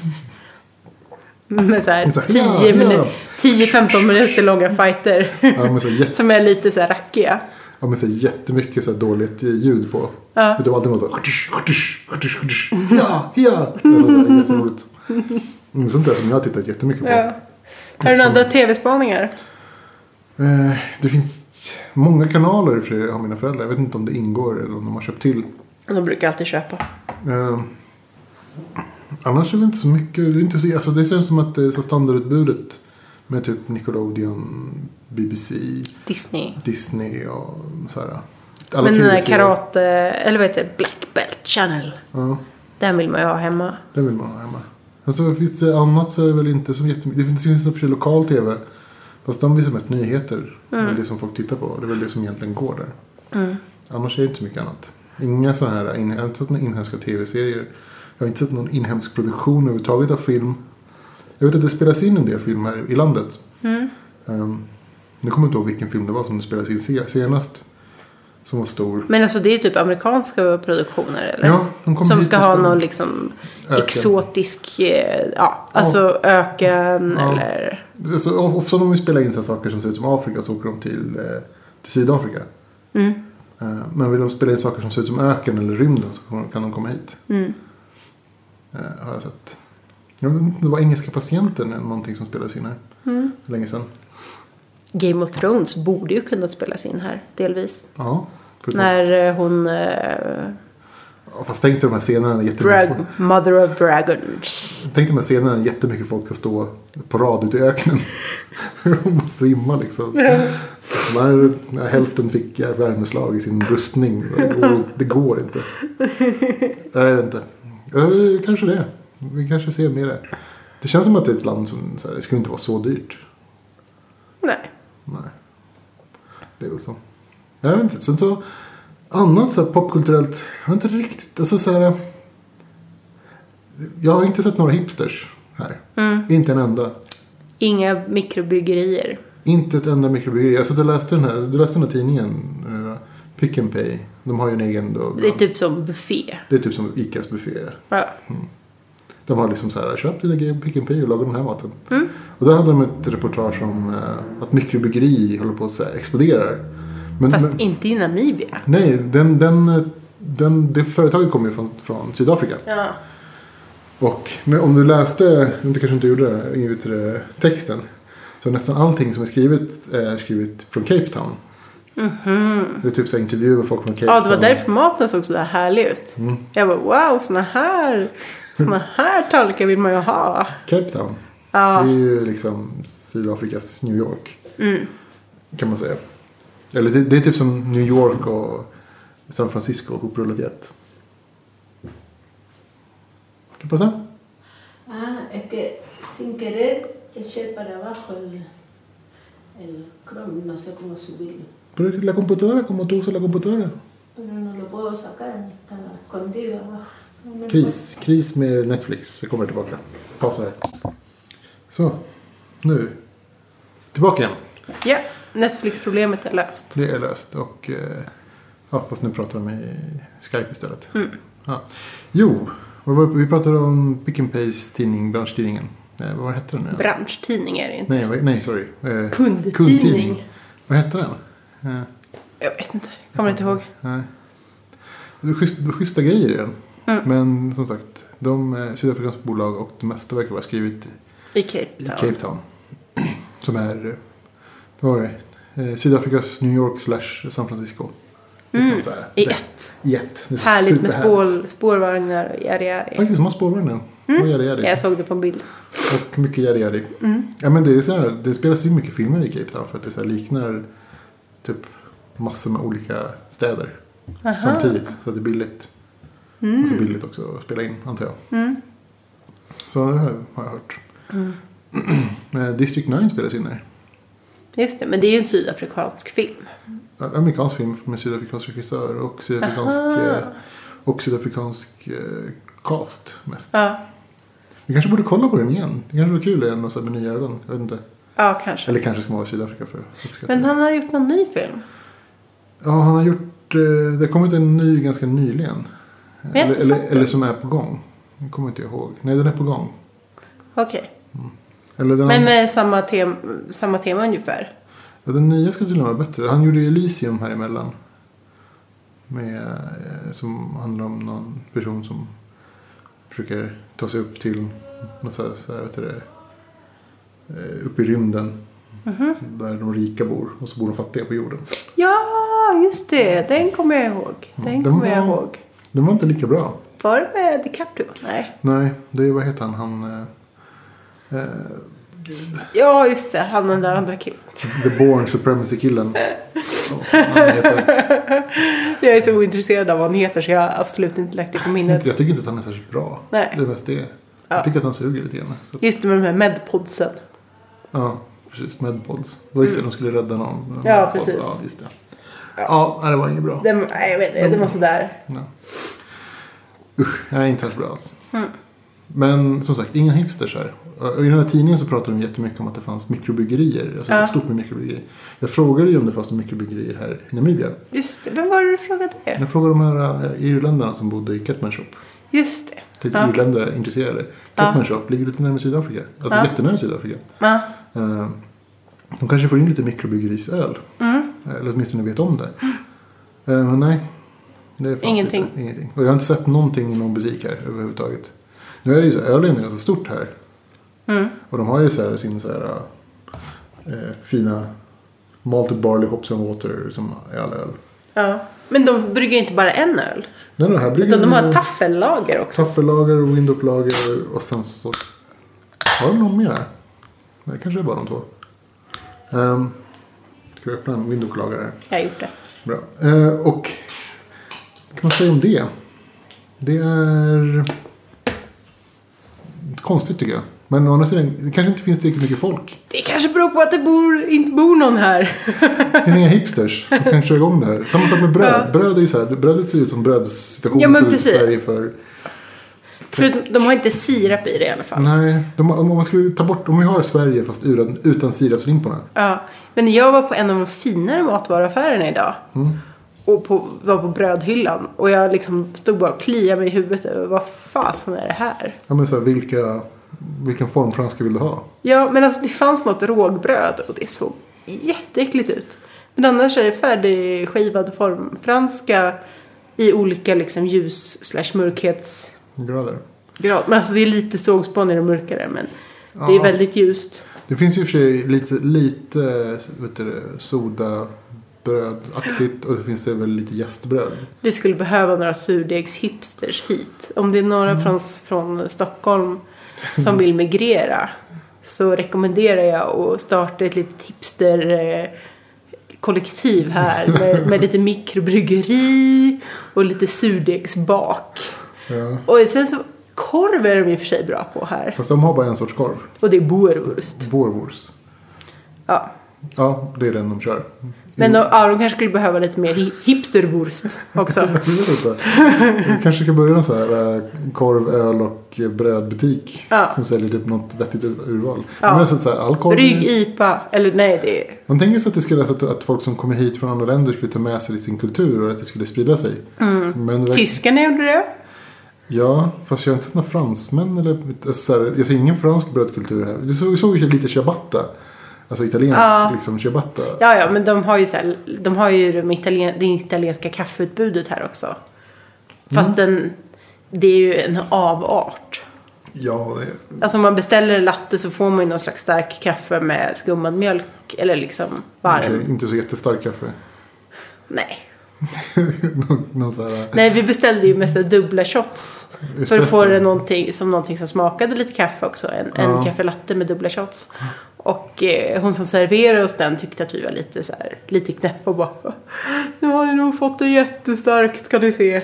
S2: Med så här
S1: Så här, ja,
S2: 10
S1: ja.
S2: minu- 10-15 minuter långa fighter.
S1: Ja, men så här, jätte,
S2: Som är lite så här rackiga.
S1: ja, men så här, jättemycket så här, dåligt ljud på.
S2: Ja.
S1: Det var alltid något så här, "Kutush, kutush, kutush, kutush." Ja, ja. Alltså, så här, jätteroligt. Mm, Sånt där som jag har tittat jättemycket på.
S2: Ja. Har du några andra tv-spaningar?
S1: Eh, Det finns många kanaler i och för sig, har mina föräldrar. Jag vet inte om det ingår eller om de har köpt till.
S2: De brukar alltid köpa.
S1: Eh, annars är det inte så mycket. Det, är inte så, alltså det känns som att det är så standardutbudet med typ Nickelodeon, BBC,
S2: Disney.
S1: Disney och så här. Alla
S2: Men den där
S1: TV-serier.
S2: karate, eller vad heter det, Black Belt Channel.
S1: Ja,
S2: Den vill man ju ha hemma.
S1: det vill man ha hemma. Alltså finns det annat så är det väl inte så jättemycket. Det finns ju i och för sig lokal tv. Fast de visar mest nyheter. Det
S2: Mm.
S1: är det som folk tittar på. Det är väl det som egentligen går där. Annars är det inte så mycket annat. Inga sådana här, in- jag har inte sett några inhemska tv-serier. Jag har inte sett någon inhemsk produktion överhuvudtaget av film. Jag vet att det spelas in en del film här i landet.
S2: Mm.
S1: Ehm, nu kommer jag inte ihåg vilken film det var som det spelades in se- senast. Som var stor.
S2: Men alltså det är ju typ amerikanska produktioner eller?
S1: Ja, de kom
S2: Som
S1: hit
S2: ska
S1: och
S2: ha
S1: spelade-
S2: någon liksom
S1: Öken.
S2: exotisk, eh, ja, alltså öken
S1: Ja.
S2: eller...
S1: Alltså, of- ofta när vi spelar in så här saker som ser ut som Afrika så åker de till, eh, till Sydafrika.
S2: Mm,
S1: Eh, Men vill de spela in saker som ser ut som öken eller rymden så kommer- kan de komma hit.
S2: mm,
S1: Eh, Har jag sett. Jag vet inte, det var engelska patienten eller någonting som spelades in här.
S2: mm.
S1: för Länge sedan.
S2: Game of Thrones borde ju kunna spelas in här, delvis.
S1: Ja. förutom-
S2: När eh, hon... Eh,
S1: Ja, Fast tänk dig de här scenerna när jättemycket,
S2: drag,
S1: folk,
S2: Mother of Dragons.
S1: tänk dig de här scenerna när jättemycket folk ska stå på rad ute i öknen. och svimma liksom. Så När, när hälften fick värmeslag i sin bröstning. Det går, det går inte. Jag vet inte. Eh, Kanske det. Vi kanske ser mer det. Det känns som att det är ett land som så här, det skulle inte vara så dyrt.
S2: Nej.
S1: Nej. Det är väl så. Jag vet inte. Sen så. Annat så här popkulturellt. Jag vet inte riktigt. Alltså så här. Jag har inte sett några hipsters här.
S2: Mm.
S1: Inte en enda.
S2: Inga mikrobryggerier.
S1: Inte ett enda mikrobryggeri. Alltså du läste den här, du läste den här tidningen. eh, Pick and Pay. De har ju en egen då.
S2: Det är typ som buffé.
S1: det är typ som Icas bufféer.
S2: Ja.
S1: De har liksom så här, köp dina grejer på Pick and Pay och laga den här maten.
S2: Mm.
S1: Och där hade de ett reportage om eh, att mikrobryggeri håller på att så här exploderar. Men,
S2: Fast
S1: men,
S2: inte i Namibia.
S1: nej, den, den, eh, den, det företaget kommer ju från, från Sydafrika.
S2: Ja.
S1: Och när- om du läste, om du kanske inte gjorde det, i, vet du det, texten. Så nästan allting som är skrivet är skrivet från Cape Town. Det är typ Mm. så här intervjuer med folk från Cape
S2: Mhm. Ja, det var
S1: Town.
S2: därför maten såg så där härlig ut. Jag bara wow, såna här, såna här tallrikar vill man ju ha.
S1: Cape Town. Det är ju liksom Sydafrikas New York.
S2: mm.
S1: Kan man säga. Eller det, det är typ som New York och San Francisco hoprullat i ett. ¿Qué pasa?
S3: Ah, es que sin querer eché para abajo el, el Chrome, no sé cómo subirlo.
S1: Pero es la computadora, como tú usas la computadora.
S3: Pero no lo puedo sacar, está escondido abajo. No me
S1: Kris. Kris med Netflix. Jag kommer tillbaka. Pausa här. Så. Nu. Tillbaka igen.
S2: Ja, Netflix-problemet är löst.
S1: Det är löst och... eh, Ja, fast nu pratar de i Skype istället.
S2: Mm.
S1: Ja. Jo, vad var det- vi pratade om Pick and Pace tidning, branschtidningen. Eh, vad hette den nu?
S2: Branschtidning är det inte.
S1: Nej, vad- nej, sorry. Eh,
S2: Kundtidning.
S1: Vad hette den? Eh,
S2: Jag vet inte, jag kommer inte ihåg.
S1: nej. Det var schysst- det var schyssta grejer i den.
S2: Mm.
S1: Men som sagt, de eh, sydafrikanska bolag och det mesta verkar vara skrivet i
S2: I Cape
S1: i
S2: Town.
S1: Cape Town. Som är, eh, vad var det? Eh, Sydafrikas New York slash San Francisco. Liksom så här.
S2: Mm. I
S1: Det-
S2: ett.
S1: I ett. Det är så
S2: Härligt med
S1: superhärligt.
S2: spår, spårvagnar och yari yari.
S1: Faktiskt, de har spårvagnen.
S2: Mm.
S1: Och Yadi Yadi.
S2: Jag såg det på en bild. Mm.
S1: Och mycket Yadi Yadi. Ja, men det, är så här, det spelas ju mycket filmer i Cape Town för att det så här liknar typ massor med olika städer.
S2: Aha. Mm.
S1: samtidigt. Så att det är billigt. Och så billigt också att spela in antar jag. Så det här har jag hört.
S2: Mm.
S1: Eh, District 9 spelas in där.
S2: Just det, men det är ju en sydafrikansk film.
S1: En amerikansk film med sydafrikansk regissör och sydafrikansk,
S2: Aha.
S1: eh, och sydafrikansk eh, cast mest.
S2: Ja,
S1: Vi kanske borde kolla på den igen. Det kanske var kul igen och så här med nya ögon. Jag vet inte.
S2: ja kanske.
S1: Eller kanske ska man vara i Sydafrika för att uppskatta
S2: Men
S1: det.
S2: han har gjort någon ny film.
S1: Ja, han har gjort... eh, Det har kommit en ny ganska nyligen.
S2: jag har
S1: Eller,
S2: inte
S1: eller,
S2: sett den.
S1: eller som är på gång. Den kommer inte jag ihåg. Nej, den är på gång.
S2: Okej.
S1: Eller den,
S2: Men med samma, tem- samma tema ungefär.
S1: ja, den nya ska till och med vara bättre. Han gjorde ju Elysium här emellan. Med, eh, som handlar om någon person som försöker ta sig upp till något så här, så här, vet du det, eh, upp i rymden. Där de rika bor och så bor de fattiga på jorden.
S2: Ja, just det. Den kommer jag ihåg. Den
S1: Mm, den
S2: kommer jag
S1: var-
S2: ihåg.
S1: Den var inte lika bra.
S2: Var det med DiCaprio? Nej.
S1: Nej, det är vad heter han? Han... eh, eh,
S2: Ja, just det. Han den där andra killen.
S1: The Born Supremacy-killen. Ja, han heter-
S2: Jag är så ointresserad av vad han heter så jag har absolut inte lagt det på
S1: jag
S2: minnet.
S1: tycker inte att han är särskilt bra.
S2: Nej.
S1: Det är mest det.
S2: Ja.
S1: Jag tycker att han suger lite grann. Så, att-
S2: Just det med de här medpodsen.
S1: ja, precis. Medpods. Det var just det, de skulle rädda någon.
S2: Mm. Ja,
S1: Medpod.
S2: precis.
S1: Ja, just det. Ja, nej, det var inget bra.
S2: Den, nej, jag vet inte. Den var sådär.
S1: Nej. Usch, jag är inte särskilt bra alls.
S2: Mm.
S1: Men som sagt, inga hipsters här. Och I den här tidningen så pratade de jättemycket om att det fanns mikrobryggerier. Alltså
S2: Ja.
S1: ett stort med mikrobryggerier. Jag frågade ju om det fanns några mikrobryggerier här i Namibia.
S2: Just det. Vem var det du frågade det?
S1: Jag frågade de här eh, irländarna som bodde i Ketmanshop.
S2: Just det.
S1: Tänkte
S2: Ja.
S1: irländare är intresserade. Ketmanshop ligger lite närmare Sydafrika. Alltså
S2: Ja.
S1: jättenära Sydafrika.
S2: Ja.
S1: Eh, De kanske får in lite mikrobryggeriöl.
S2: Mm.
S1: Eller åtminstone vet om det. Eh, Men nej. Det fanns
S2: Ingenting.
S1: Inte, ingenting. Och jag har inte sett någonting i någon butik här överhuvudtaget. Nu är det ju så, ölen är ganska stort här.
S2: Mm.
S1: Och de har ju så här sin så här eh, fina Malted Barley Hops and Water som är all öl.
S2: Ja. Men de brygger inte bara en öl.
S1: Nej, de här brygger
S2: Utan de har
S1: ju-
S2: ett taffellager också.
S1: Kaffelager och Windows-lager och sen så... Har de någon mer här? Nej, kanske det är bara de två. Um, ska vi öppna en Windows-lager här?
S2: Jag har gjort det.
S1: Bra. Eh, och vad kan man säga om det? Det är konstigt tycker jag. Men å andra sidan, det kanske inte finns tillräckligt mycket folk.
S2: Det kanske beror på att det bor, inte bor någon här.
S1: Det finns inga hipsters som kan köra igång det här. Samma sak med bröd. Bröd är ju så här, brödet ser ut som brödsituationen
S2: Ja, men
S1: såg ut i
S2: precis.
S1: Sverige för
S2: Förutom, de har inte sirap i det i alla fall.
S1: Nej, de, om man skulle ta bort, om vi har Sverige fast utan, utan sirapsrymporna.
S2: Ja. Men jag var på en av de finare matvaruaffärerna idag. Och på, var på brödhyllan. Och jag liksom stod bara och kliade mig i huvudet över vad fasen är det här?
S1: Ja men så här, vilka, vilken formfranska vill du ha?
S2: Ja, men alltså det fanns något rågbröd och det såg jätteäckligt ut. Men annars är det färdigskivad formfranska i olika liksom ljus slash mörkhets
S1: Grader.
S2: grad. Men alltså det är lite sågspånigare och mörkare men det är
S1: Ja.
S2: väldigt ljust.
S1: Det finns ju i och för sig lite, lite vet du, det, sodabrödaktigt och det finns det väl lite jästbröd.
S2: Vi skulle behöva några surdegshipsters hit. Om det är några från, från Stockholm som vill migrera så rekommenderar jag att starta ett litet hipster eh, kollektiv här med, med lite mikrobryggeri och lite surdegsbak.
S1: Ja.
S2: Och sen så korv är de i och för sig bra på här.
S1: Fast de har bara en sorts korv.
S2: Och det är boerwurst.
S1: Boerwurst.
S2: Ja.
S1: Ja, det är den de kör.
S2: Men de, ja, de kanske skulle behöva lite mer hi- hipsterwurst också.
S1: Jag vet inte. Vi kanske ska börja en så här eh, korv, öl och eh, brödbutik.
S2: Ja.
S1: Som säljer typ något vettigt ur- urval.
S2: Ja.
S1: Men så att så här, all korv
S2: Rygg, IPA, eller nej det är...
S1: Man tänker sig att, det skulle, att, att folk som kommer hit från andra länder skulle ta med sig sin kultur och att det skulle sprida sig.
S2: Mm.
S1: Men det verk-
S2: Tyskarna gjorde det.
S1: Ja, fast jag har inte sett några fransmän eller alltså, så här, Jag ser ingen fransk brödkultur här. Det såg, såg ju lite ciabatta. Alltså italiensk
S2: Ja.
S1: liksom ciabatta.
S2: Ja, ja, men de har ju, så här, de har ju de italien, det italienska kaffeutbudet här också. Fast den, det är ju en avart.
S1: Ja, det,
S2: Alltså om man beställer en latte så får man ju någon slags stark kaffe med skummad mjölk. Eller liksom varm.
S1: okej, inte så jättestark kaffe.
S2: Nej.
S1: någon, någon så här, eh,
S2: Nej, vi beställde ju mest så här dubbla shots. För
S1: Espresso.
S2: att få det någonting som, någonting som smakade lite kaffe också. En, en
S1: Ja.
S2: kaffelatte med dubbla shots. Och eh, hon som serverade oss den tyckte att vi var lite, så här, lite knäppa och bara Nu har ni nog fått det jättestarkt ska ni se.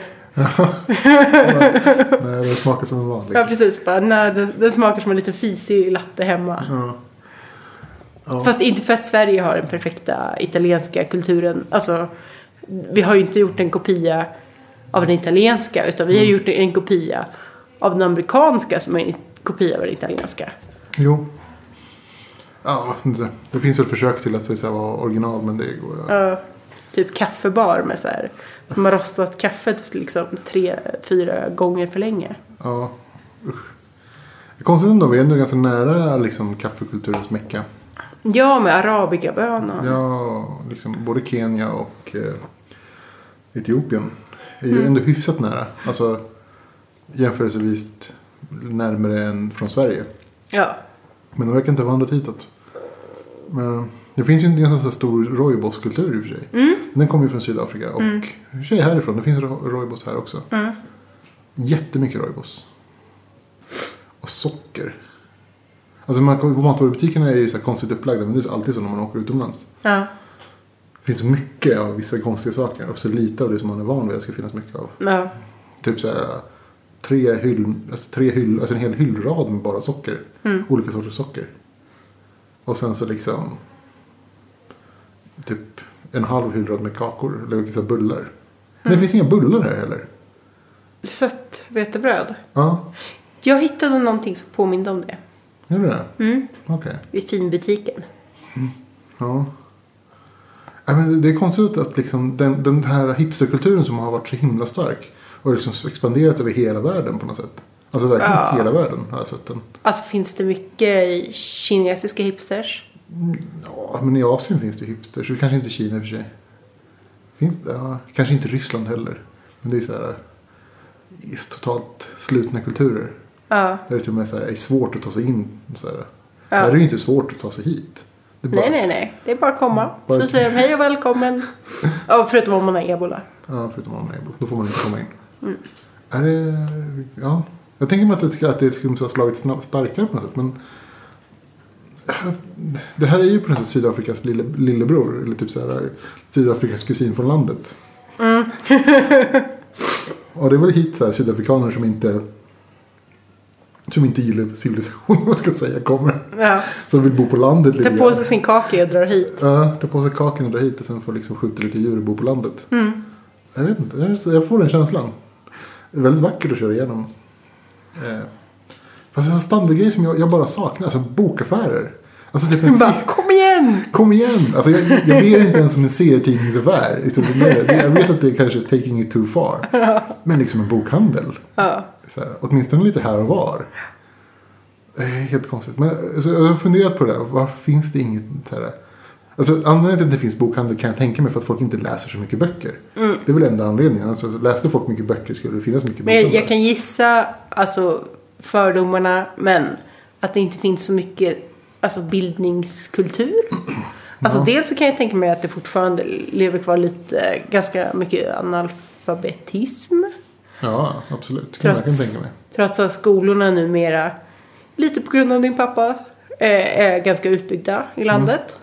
S1: Nej, det smakar som en vanlig.
S2: Ja precis, bara, nej, den, den smakar som en liten fisig latte hemma.
S1: Ja. Ja.
S2: Fast inte för att Sverige har den perfekta italienska kulturen. Alltså, vi har ju inte gjort en kopia av den italienska utan vi har
S1: Mm.
S2: gjort en kopia av den amerikanska som är en kopia av den italienska.
S1: Jo. Ja, det, det finns väl försök till att så att säga, vara original men det går
S2: Ja, typ kaffebar med så här, som har rostat kaffet liksom tre, fyra gånger för länge.
S1: Ja, usch. Det är Konstigt ändå, vi är ändå ganska nära liksom, kaffekulturens mecka.
S2: Ja, med arabikabönan.
S1: Ja, liksom, både Kenya och eh, Etiopien är ju ändå hyfsat nära. Alltså jämförelsevis närmare än från Sverige.
S2: Ja.
S1: Men de verkar inte ha vandrat hitåt. Men, det finns ju en ganska så här stor rooibos-kultur i och för sig.
S2: Mm.
S1: Den kommer ju från Sydafrika och i och för sig härifrån. Det finns ro- rooibos här också.
S2: Mm.
S1: Jättemycket rooibos. Och socker. Alltså man, kommer- matvarubutikerna är ju så här konstigt upplagda men det är alltid så när man åker utomlands.
S2: ja.
S1: Det finns så mycket av vissa konstiga saker och så lite av det som man är van vid att det ska finnas mycket av.
S2: ja.
S1: Typ så här tre hyll, alltså, tre hyll, alltså en hel hyllrad med bara socker. Olika sorters socker. Och sen så liksom typ en halv hyllrad med kakor eller vissa bullar. Men det finns inga bullar här heller.
S2: Sött vetebröd.
S1: Ja,
S2: Jag hittade någonting som påminde om det.
S1: gör du det?
S2: Mm.
S1: Okej.
S2: I finbutiken.
S1: Ja. Nej, men det- det är konstigt att- att liksom den, den här hipsterkulturen som har varit så himla stark och liksom expanderat över hela världen på något sätt. Alltså verkligen
S2: Ja.
S1: hela världen har jag sett den.
S2: Alltså finns det mycket i kinesiska hipsters?
S1: Ja, men i Asien finns det hipsters. Och kanske inte i Kina i och för sig. Finns det? Ja, kanske inte i Ryssland heller. Men det är så här i totalt slutna kulturer.
S2: Ja.
S1: Där det till och med så här, är svårt att ta sig in. Så här.
S2: Ja.
S1: Här är det ju inte svårt att ta sig hit. Det är bara
S2: Nej, nej,
S1: att-
S2: nej. Det är bara att komma.
S1: Bara-
S2: Så säger de hej och välkommen. Ja, förutom om man har ebola.
S1: Ja, förutom om Neighbor. Då får man inte komma in.
S2: Mm.
S1: Är det... Ja. Jag tänker mig att det, ska- att det liksom har slagit snabb, starkare på något sätt. Men det här är ju på något sätt Sydafrikas lille, lillebror. Eller typ så här, Sydafrikas kusin från landet.
S2: Mm.
S1: och det är väl hit så här, sydafrikaner som inte... Som inte gillar civilisation, vad man ska säga, kommer.
S2: Ja.
S1: Som vill bo på landet lite
S2: Tar på
S1: grann.
S2: sig sin kake och drar hit.
S1: Ja, ta på sig kakan och dra hit och sen får liksom skjuta lite djur och bo på landet. Jag vet inte, jag- jag får den känslan. Det är väldigt vackert att köra igenom. Eh, fast en standardgrej som jag, jag bara saknar, alltså bokaffärer. Alltså typ en
S2: Bara, kom igen!
S1: Kom igen! Alltså jag, jag ber inte ens om en serietidningsaffär. Liksom, det är- det- jag vet att det är kanske är taking it too far. Men liksom en bokhandel.
S2: Ja.
S1: Så här, åtminstone lite här och var. Det är helt konstigt. Men alltså, jag har funderat på det där. Varför finns det inget så här? Alltså anledningen till att det finns bokhandel kan jag tänka mig för att folk inte läser så mycket böcker. Det är väl enda anledningen. Alltså, läste folk mycket böcker skulle det finnas mycket
S2: Mm. Men jag,
S1: bokhandlar.
S2: jag kan gissa, alltså fördomarna, men att det inte finns så mycket alltså, bildningskultur. Alltså dels så kan jag tänka mig att det fortfarande lever kvar lite, ganska mycket analfabetism.
S1: Ja, absolut. Kan jag kan
S2: Trots,
S1: tänka mig.
S2: trots att skolorna numera, lite på grund av din pappa, eh, är ganska utbyggda i landet.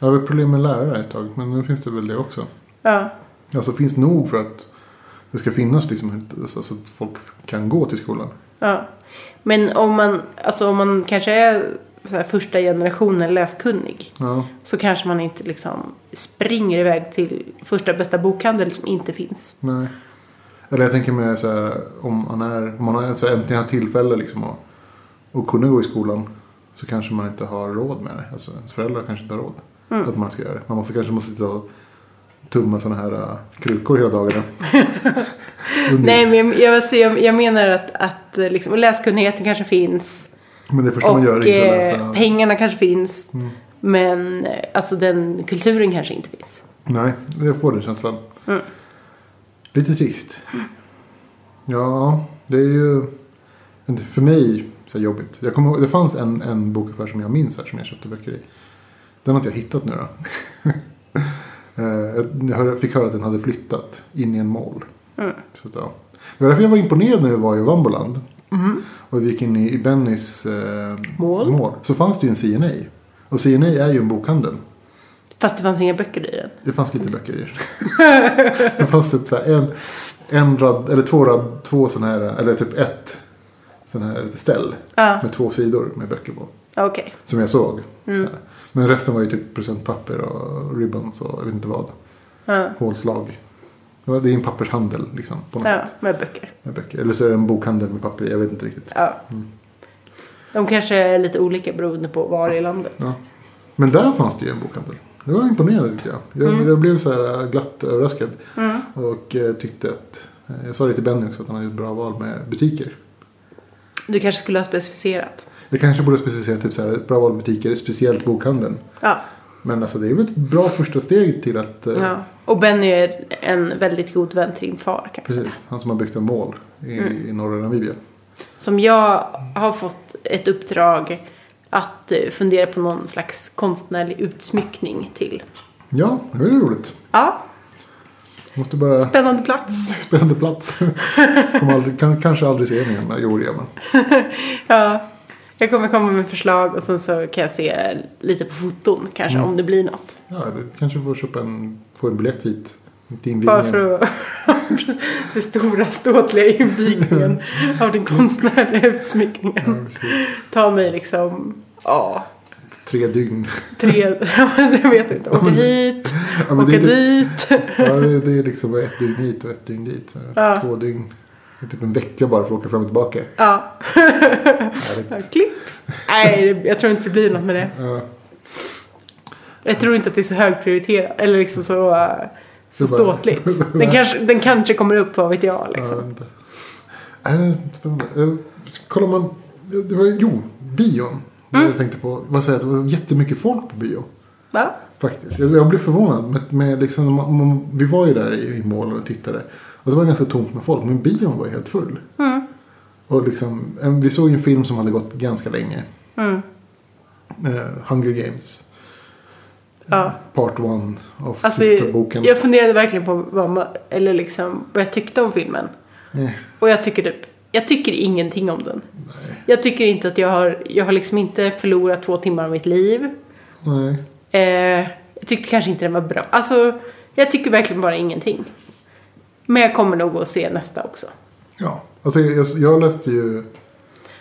S1: Jag hade problem med lärare ett tag. Men nu finns det väl det också.
S2: Ja.
S1: Alltså finns nog för att det ska finnas liksom alltså, så att folk kan gå till skolan.
S2: Ja. Men om man, alltså om man kanske är så här första generationen läskunnig
S1: Ja,
S2: så kanske man inte liksom springer iväg till första bästa bokhandel som inte finns.
S1: nej. Eller jag tänker mig så här om man är, om man har, så här, äntligen har tillfälle liksom att, att kunna gå i skolan så kanske man inte har råd med det. Alltså ens föräldrar kanske inte har råd att man ska göra det. Man måste, kanske måste sitta och tumma sådana här äh, krukor hela dagarna. Under-
S2: Nej, men jag, jag, alltså, jag, jag menar att, att eh, liksom, och läskunnigheten kanske finns
S1: Men det första
S2: och
S1: man gör är inte att
S2: eh,
S1: läsa. Mm.
S2: pengarna kanske finns. Men eh, alltså den kulturen kanske inte finns.
S1: Nej, jag får den känslan. Lite trist. Ja, det är ju inte för mig så här jobbigt. Jag kommer, ihåg- det fanns en, en bokaffär som jag minns här som jag köpte böcker i. Den har inte jag hittat nu då. Eh, jag hör- fick höra att den hade flyttat in i en mål. Så att, ja. Det var därför jag var imponerad när vi var i Vamboland. Och vi gick in i, i Bennys eh,
S2: Mål.
S1: Så fanns det ju en C&A. Och C&A är ju en bokhandel.
S2: Fast det fanns inga böcker i den.
S1: Det fanns lite böcker i. det fanns typ så här en, en rad, eller två rad, två sån här, eller typ ett sån här ställ.
S2: Ja,
S1: Med två sidor med böcker på.
S2: okej.
S1: Som jag såg.
S2: Mm.
S1: Så här. Men resten var ju typ presentpapper och ribbons och jag vet inte vad.
S2: Ja.
S1: Hålslag. Det var- det är en pappershandel liksom på något
S2: ja,
S1: sätt.
S2: med böcker.
S1: Med böcker. Eller så är det en bokhandel med papper i, jag vet inte riktigt.
S2: Ja.
S1: Mm.
S2: De kanske är lite olika beroende på var i landet.
S1: Ja. Men där fanns det ju en bokhandel. Det var imponerande tyckte jag. Jag,
S2: Mm.
S1: jag blev så här glatt överraskad. Och eh, tyckte att, eh, jag sa det till Benny också att han hade gjort bra val med butiker.
S2: Du kanske skulle ha specificerat.
S1: Jag kanske borde specificera typ så här, ett bra val med butiker, speciellt bokhandeln.
S2: Ja.
S1: Men alltså det är väl ett bra första steg till att, eh,
S2: ja. Och Benny är en väldigt god vän till din far kan man säga.
S1: precis, han som har byggt en mål i,
S2: Mm.
S1: i norra Namibia.
S2: Som jag har fått ett uppdrag att eh, fundera på någon slags konstnärlig utsmyckning till.
S1: Ja, det var ju roligt.
S2: Ja,
S1: Måste bara
S2: spännande plats.
S1: spännande plats. Kommer aldrig, kan, kanske aldrig se den igen. Jo, det gör man.
S2: Ja, jag kommer komma med förslag och sen så kan jag se lite på foton kanske
S1: Mm.
S2: om det blir något.
S1: Ja, det kanske får köpa en, få en biljett hit. Till
S2: Bara
S1: invigningen.
S2: för att... det stora ståtliga invigningen av den konstnärliga
S1: Ja,
S2: utsmyckningen.
S1: precis.
S2: Ta mig liksom, ja,
S1: Tre dygn.
S2: tre... jag vet inte. Åka hit,
S1: Ja, men det,
S2: åka
S1: är typ,
S2: dit.
S1: ja, det det är liksom bara ett dygn hit och ett dygn dit. Så här,
S2: Ja.
S1: Två dygn. Det är typ en vecka bara för att åka fram och tillbaka.
S2: Ja.
S1: Härligt.
S2: Ja, Klipp. Nej, det- jag tror inte det blir något med det.
S1: Ja,
S2: Jag tror inte att det är så högprioriterat. Eller liksom så, eh, så
S1: Det är bara-
S2: ståtligt. Den kanske, den kanske kommer upp, vad vet jag.
S1: ja,
S2: Liksom.
S1: vänta. Nej, det är spännande. Eh, Kollar man. Det var, jo, bion. Det
S2: Mm.
S1: Jag tänkte på. Vad säger jag, att det var jättemycket folk på bio.
S2: Va?
S1: Faktiskt. Jag, jag blev förvånad. Med, med liksom, man, man, vi var ju där i, i målen och tittade. Och det var ganska tomt med folk. Men bion var ju helt full.
S2: Mm.
S1: Och liksom, en, vi såg ju en film som hade gått ganska länge.
S2: Mm.
S1: Eh, Hunger Games.
S2: Ja.
S1: Part one av
S2: Alltså,
S1: sista boken.
S2: jag funderade verkligen på vad, man, eller liksom, vad jag tyckte om filmen.
S1: Eh,
S2: Och jag tycker typ, jag tycker ingenting om den.
S1: nej.
S2: Jag tycker inte att jag har, jag har liksom inte förlorat två timmar av mitt liv.
S1: nej.
S2: Eh, jag tyckte kanske inte den var bra. Alltså, jag tycker verkligen bara ingenting. Men jag kommer nog att se nästa också.
S1: Ja. Alltså, jag, jag läste ju.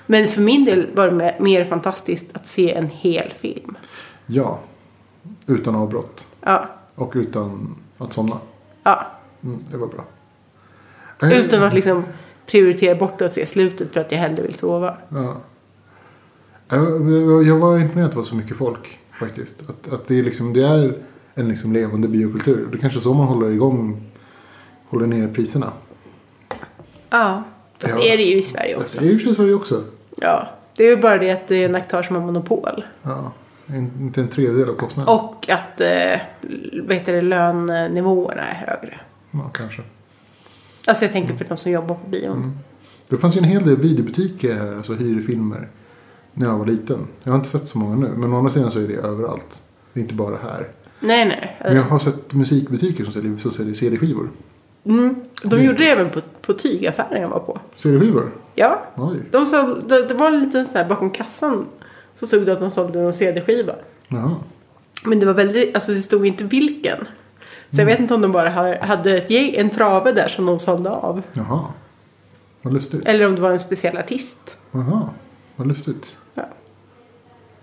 S2: Men för min del var det me- mer fantastiskt att se en hel film.
S1: Ja. Utan avbrott.
S2: Ja,
S1: Och utan att somna.
S2: ja.
S1: Mm, det var bra. Eh,
S2: Utan att liksom prioritera bort att se slutet för att jag hellre vill sova.
S1: Ja. Jag- jag- Jag var imponerad att det var så mycket folk faktiskt. Att, att det, är liksom, det är en liksom levande biokultur. Det är kanske så man håller igång, håller ner priserna.
S2: Ja. Fast
S1: Ja.
S2: det är det ju i Sverige också.
S1: Alltså, I och för sig så är det ju också.
S2: Ja, det är ju bara det att det är en aktör som har monopol.
S1: Ja, en, inte en tredjedel av kostnaden.
S2: Och att eh, vad heter det, lönnivåerna är högre.
S1: Ja, kanske.
S2: Alltså jag tänker för de som jobbar på bion.
S1: Mm. Det fanns ju en hel del videobutiker här, alltså hyrfilmer. När jag var liten. Jag har inte sett så många nu. Men å andra sidan så är det överallt. Det är inte bara här.
S2: Nej, nej.
S1: Men jag har sett musikbutiker som säljer, som säljer CD-skivor.
S2: Mm. De gjorde det även på, på tygaffären jag var på.
S1: CD-skivor?
S2: Ja,
S1: Oj.
S2: de sålde, det, det var en liten sån här bakom kassan så såg du att de sålde en CD-skiva.
S1: Jaha.
S2: Men det var väldigt, alltså det stod inte vilken. Så jag vet inte om de bara ha- hade ett, gäng- en trave där som de sålde av.
S1: Jaha. Vad lustigt.
S2: Eller om det var en speciell artist.
S1: Jaha, vad lustigt.
S2: Ja.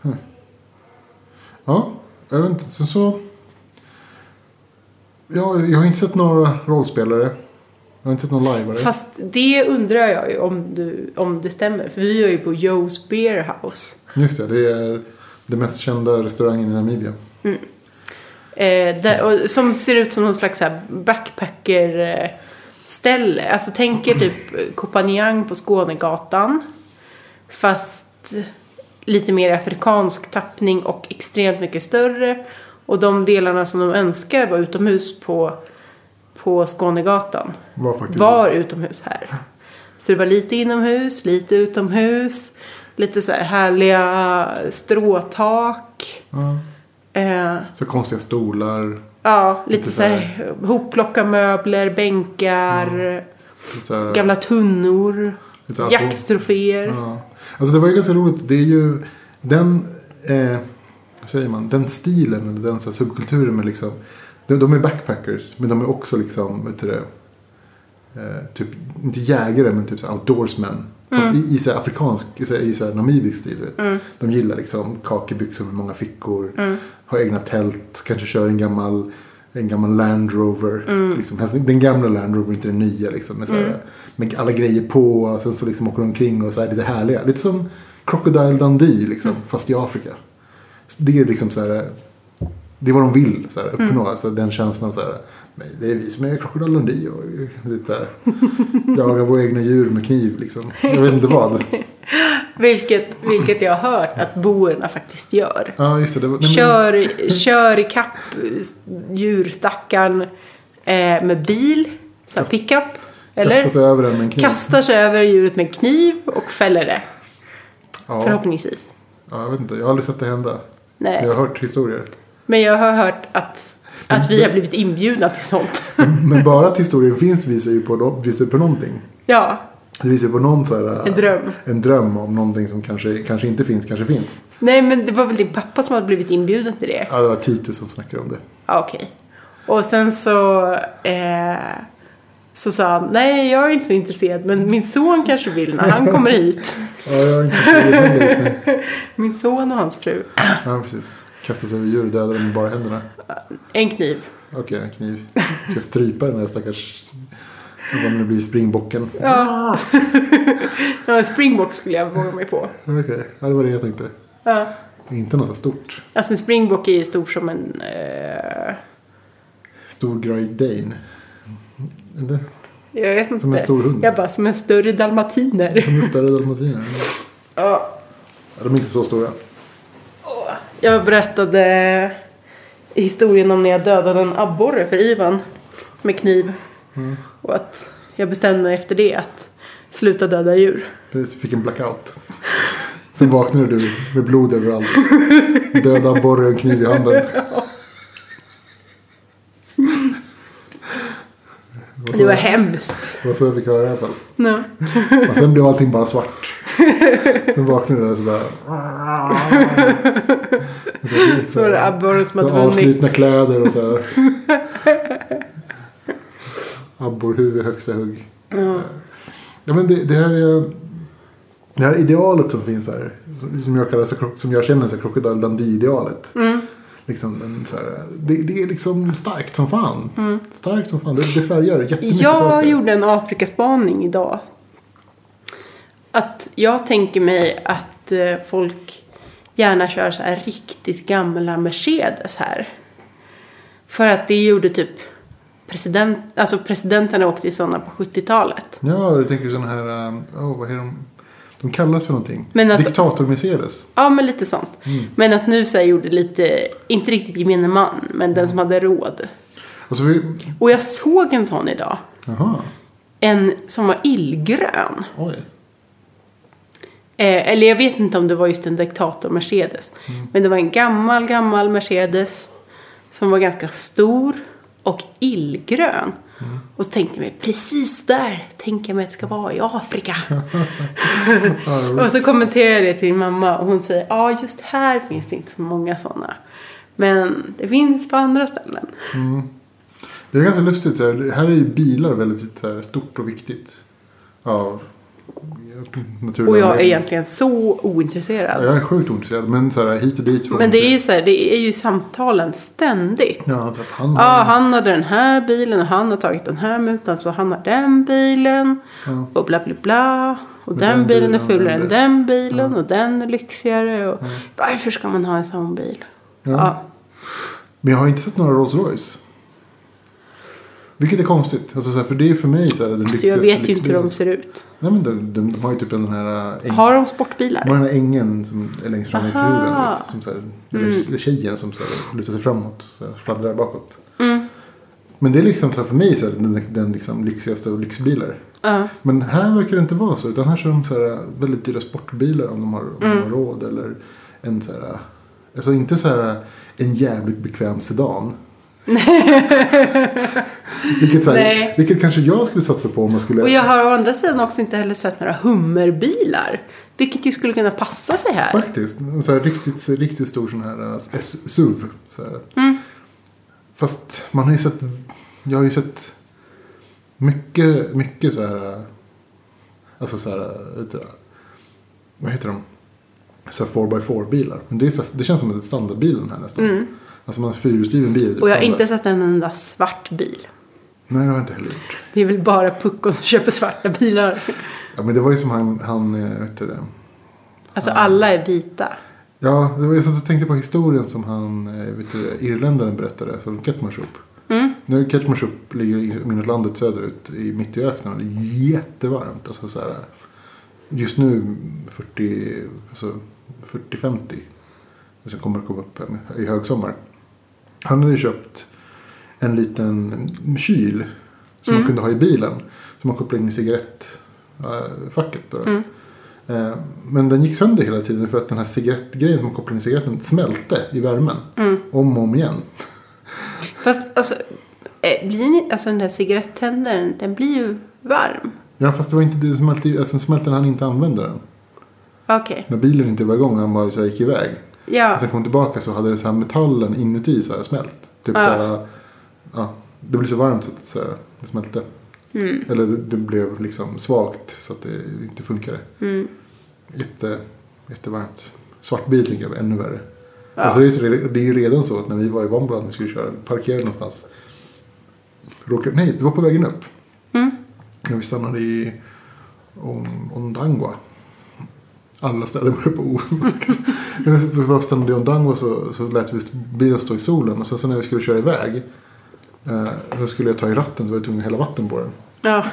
S1: Huh. Ja, jag vet inte. Sen så... Ja, jag har inte sett några rollspelare. Jag har inte sett någon liveare.
S2: Fast det undrar jag ju om, du, om det stämmer. För vi var ju på Joe's Beer House.
S1: Just det, det är den mest kända restaurangen i Namibia.
S2: Eh, där, och, som ser ut som någon slags så här backpacker eh, ställe. Alltså tänk er typ Copanjang på Skånegatan. Fast lite mer afrikansk tappning och extremt mycket större. Och de delarna som de önskar var utomhus på, på Skånegatan.
S1: Var faktiskt...
S2: Var utomhus här. Så det var lite inomhus, lite utomhus. Lite så här härliga stråtak.
S1: Ja.
S2: Eh,
S1: Så konstiga stolar.
S2: Ja, lite,
S1: Lite
S2: så här hopplockade möbler, bänkar,
S1: Så här,
S2: gamla tunnor.
S1: Lite alkohol.
S2: Jakttroféer.
S1: Ja. Alltså det var ju ganska roligt. Det är ju den, eh, vad säger man, den stilen eller den så här subkulturen med liksom. De, de är backpackers men de är också liksom, vet du det, eh, typ, inte jägare men typ så här outdoorsmen. Fast i, i så här afrikansk, i, så här, i så här namibisk stil. Vet. du. De gillar liksom kakebyxor med många fickor.
S2: Mm.
S1: Har egna tält, kanske kör en gammal en gammal Land Rover.
S2: Mm.
S1: Liksom, helst den gamla Land Rover, inte den nya. Liksom, med, så här, med alla grejer på. Och sen så liksom åker de omkring och så här, lite härliga. Lite som Crocodile Dundee, liksom,
S2: Mm.
S1: fast i Afrika. Så det är liksom så här. Det är vad de vill så här, uppnå.
S2: Mm.
S1: Alltså, den känslan så här. Men det är vi som är Crocodile Dundee och sitter här. Jagar våra egna djur med kniv liksom. Jag vet inte vad.
S2: Vilket, vilket jag har hört att boerna faktiskt gör.
S1: Ja, just det. det var, nej, men-
S2: Kör, kör ikapp djurstackaren eh, med bil, så här pickup. Eller
S1: Kastar sig över den med en kniv.
S2: kastar sig över djuret med kniv och fäller det.
S1: ja.
S2: Förhoppningsvis.
S1: ja, jag vet inte. Jag har aldrig sett det hända.
S2: Nej.
S1: Men Jag har hört historier.
S2: Men jag har hört att, att vi har blivit inbjudna till sånt.
S1: Men bara att historier finns visar ju på, visar ju på någonting.
S2: Ja,
S1: Det visar ju på någon så här,
S2: En dröm.
S1: En dröm om någonting som kanske, kanske inte finns, kanske finns.
S2: nej men det var väl din pappa som hade blivit inbjuden till det.
S1: Ja, det var Titus som snackade om det.
S2: Ja, okej. Och sen så, eh, så sa han, nej jag är inte så intresserad men min son kanske vill när han kommer hit.
S1: Ja, jag är inte så det just nu.
S2: Min son och hans fru.
S1: Ja, precis. Kastas över djur och dödar dem med bara händerna.
S2: En kniv.
S1: Okej, en kniv. Ska strypa den där stackars... Vad det nu blir, springbocken.
S2: Ja. ja, springbok skulle jag våga mig på.
S1: Okej, ja, det var det jag tänkte.
S2: Ja.
S1: Inte något så stort.
S2: Alltså en springbok är ju stor som en... Eh,
S1: Stor Great Dane. Eller?
S2: jag vet inte.
S1: Som en stor hund.
S2: Jag bara, som en större dalmatiner.
S1: De är större dalmatiner.
S2: Ja.
S1: Ja, de är inte så stora.
S2: Jag berättade historien om när jag dödade en abborre för Ivan med kniv. Och att jag bestämde mig efter det att sluta döda djur.
S1: Precis, fick en blackout. Sen vaknade du med blod överallt. Döda abborre och en kniv i handen. Det var så-
S2: Det var hemskt.
S1: Det var så jag fick höra i alla fall.
S2: Ja.
S1: Och sen blev allting bara svart. Sen vaknade du där så bara... Och Så,
S2: Så var det abborren som hade
S1: så avslitna
S2: vunnit.
S1: kläder och så här. Abborrhuvud högsta hugg.
S2: Ja.
S1: Ja, men det, det här är... Det här idealet som finns här, som som jag, kallar, så kro- som jag känner så Crocodile Dundee-idealet.
S2: Mm.
S1: Liksom, en så här, det, det är liksom starkt som fan.
S2: Mm.
S1: Starkt som fan. Det, det färgar jättemycket
S2: Jag
S1: saker.
S2: gjorde en Afrikaspaning idag. Att jag tänker mig att eh, folk gärna kör så här riktigt gamla Mercedes här. För att det gjorde typ president, alltså presidenterna åkte i sådana på 70-talet.
S1: Ja, du tänker sådana här... um, åh vad är de? De kallas för någonting.
S2: Men att-
S1: Diktator Mercedes.
S2: Ja, men lite sånt. Men att nu så här gjorde lite, inte riktigt gemene man, men den som hade råd.
S1: Och så vi,
S2: Och jag såg en sån idag.
S1: jaha,
S2: En som var illgrön.
S1: oj.
S2: Eh, eller jag vet inte om det var just en diktator Mercedes. Men det var en gammal, gammal Mercedes. Som var ganska stor och illgrön. Och så tänkte jag mig, precis där tänker jag mig att det ska vara i Afrika. och så kommenterade jag det till min mamma och hon säger, ja just här finns det inte så många sådana. Men det finns på andra ställen.
S1: Mm. Det är ganska lustigt. Så här, här är ju bilar väldigt så här, stort och viktigt. Av naturliga
S2: Och jag är
S1: anledningar.
S2: egentligen så
S1: Ja,
S2: ointresserad.
S1: Jag är sjukt ointresserad. Men så här, hit och dit.
S2: Men det är ju så här, det är ju samtalen ständigt.
S1: Ja, alltså, han
S2: Ja, han hade den här bilen och han har tagit den här mutan så han har den bilen.
S1: Ja.
S2: Och bla bla bla. Och
S1: Och
S2: den,
S1: den
S2: bilen är
S1: bilen och
S2: fulare
S1: den
S2: än
S1: bilen.
S2: den bilen och den är lyxigare. Och Varför ska man ha en sån bil?
S1: Ja.
S2: Ja.
S1: Men jag har inte sett några Rolls Royce. Vilket är konstigt. Alltså, så här, för det är för mig så här, den
S2: Så Alltså, jag
S1: lyxigaste
S2: vet ju inte hur de
S1: lyxbilen.
S2: ser ut.
S1: Nej men de, de, de har ju typ den här... Äng...
S2: Har de sportbilar?
S1: De har den här ängen som är längst fram i
S2: Aha. Mm.
S1: huvudet. vet du, Som så här, Eller tjejen som så här, lutar sig framåt. Så här, fladdrar bakåt.
S2: Mm.
S1: Men det är liksom så här, för mig så här, den, den liksom lyxigaste av lyxbilar.
S2: Ja.
S1: Men här verkar det inte vara så. Utan här kör de så här, äh, väldigt dyra sportbilar om de har, om
S2: Mm.
S1: de har råd. äh, Eller en så här, alltså inte så här, en jävligt bekväm sedan. vilket, så här,
S2: Nej.
S1: vilket kanske jag skulle satsa på om man skulle...
S2: Och jag har å andra sidan också inte heller sett några hummerbilar. Vilket ju skulle kunna passa sig här.
S1: Faktiskt. En så här riktigt, riktigt stor sån här eh, S- SUV. Så här.
S2: Mm.
S1: Fast man har ju sett... Jag har ju sett mycket, mycket så här... eh, Alltså så här... eh, vet du det? Vad heter de? Så här 4x4 bilar. Men det, är så här, det känns som en standardbil den här nästan. Alltså man har en fyrhjulsdriven bil.
S2: Mm. Och jag har
S1: standard.
S2: inte sett en enda svart bil.
S1: Nej, det har jag inte heller gjort.
S2: Det är väl bara puckon som köper svarta bilar.
S1: Ja, men det var ju som han... han eh, vet du det?
S2: Alltså alla är vita.
S1: Ja, det var, jag satt och tänkte på historien som han, eh, vet du, irländaren berättade från Ketmarshup. Mm. Nu Ketmarshup ligger i Minneslandet söderut, i, mitt i öknen. och Det är jättevarmt. Alltså, så här, just nu 40, alltså, 40-50. Och sen kommer det komma upp eh, i högsommar. Han hade ju köpt en liten kyl som man kunde ha i bilen. Som man kopplade in i cigarettfacket.
S2: Mm.
S1: Äh, Eh, Men den gick sönder hela tiden för att den här cigarettgrejen som man kopplade in i cigaretten smälte i värmen. Om och om igen.
S2: Mm. Fast alltså, eh, blir ni, alltså den där cigarettändaren, den blir ju varm.
S1: Ja fast det var inte det smälte, ju- alltså den smälte när han inte använde den.
S2: Okej.
S1: När bilen inte var igång han bara så här, gick iväg.
S2: Ja.
S1: Och sen kom tillbaka så hade det så här metallen inuti så här smält. Typ
S2: Ja.
S1: så här, ja, det blev så varmt så att så här, det smälte.
S2: Mm.
S1: Eller det, det blev liksom svagt så att det inte funkade.
S2: Mm.
S1: Jätte, jättevarmt. Svart bil tycker jag är ännu värre. Alltså det, är, så- det är ju redan så att när vi var i Vombrand och skulle köra, parkerade någonstans. Råkade, nej, det var på vägen upp.
S2: Mm.
S1: Ja, vi stannade i On- Ondangwa. Alla städer började på O. När vi var stannade i Ondangwa så, så lät vi bilen stå i solen. Och sen så när vi skulle köra iväg. Eh, så skulle jag ta i ratten så var jag tvungen att hälla vatten på den.
S2: ja.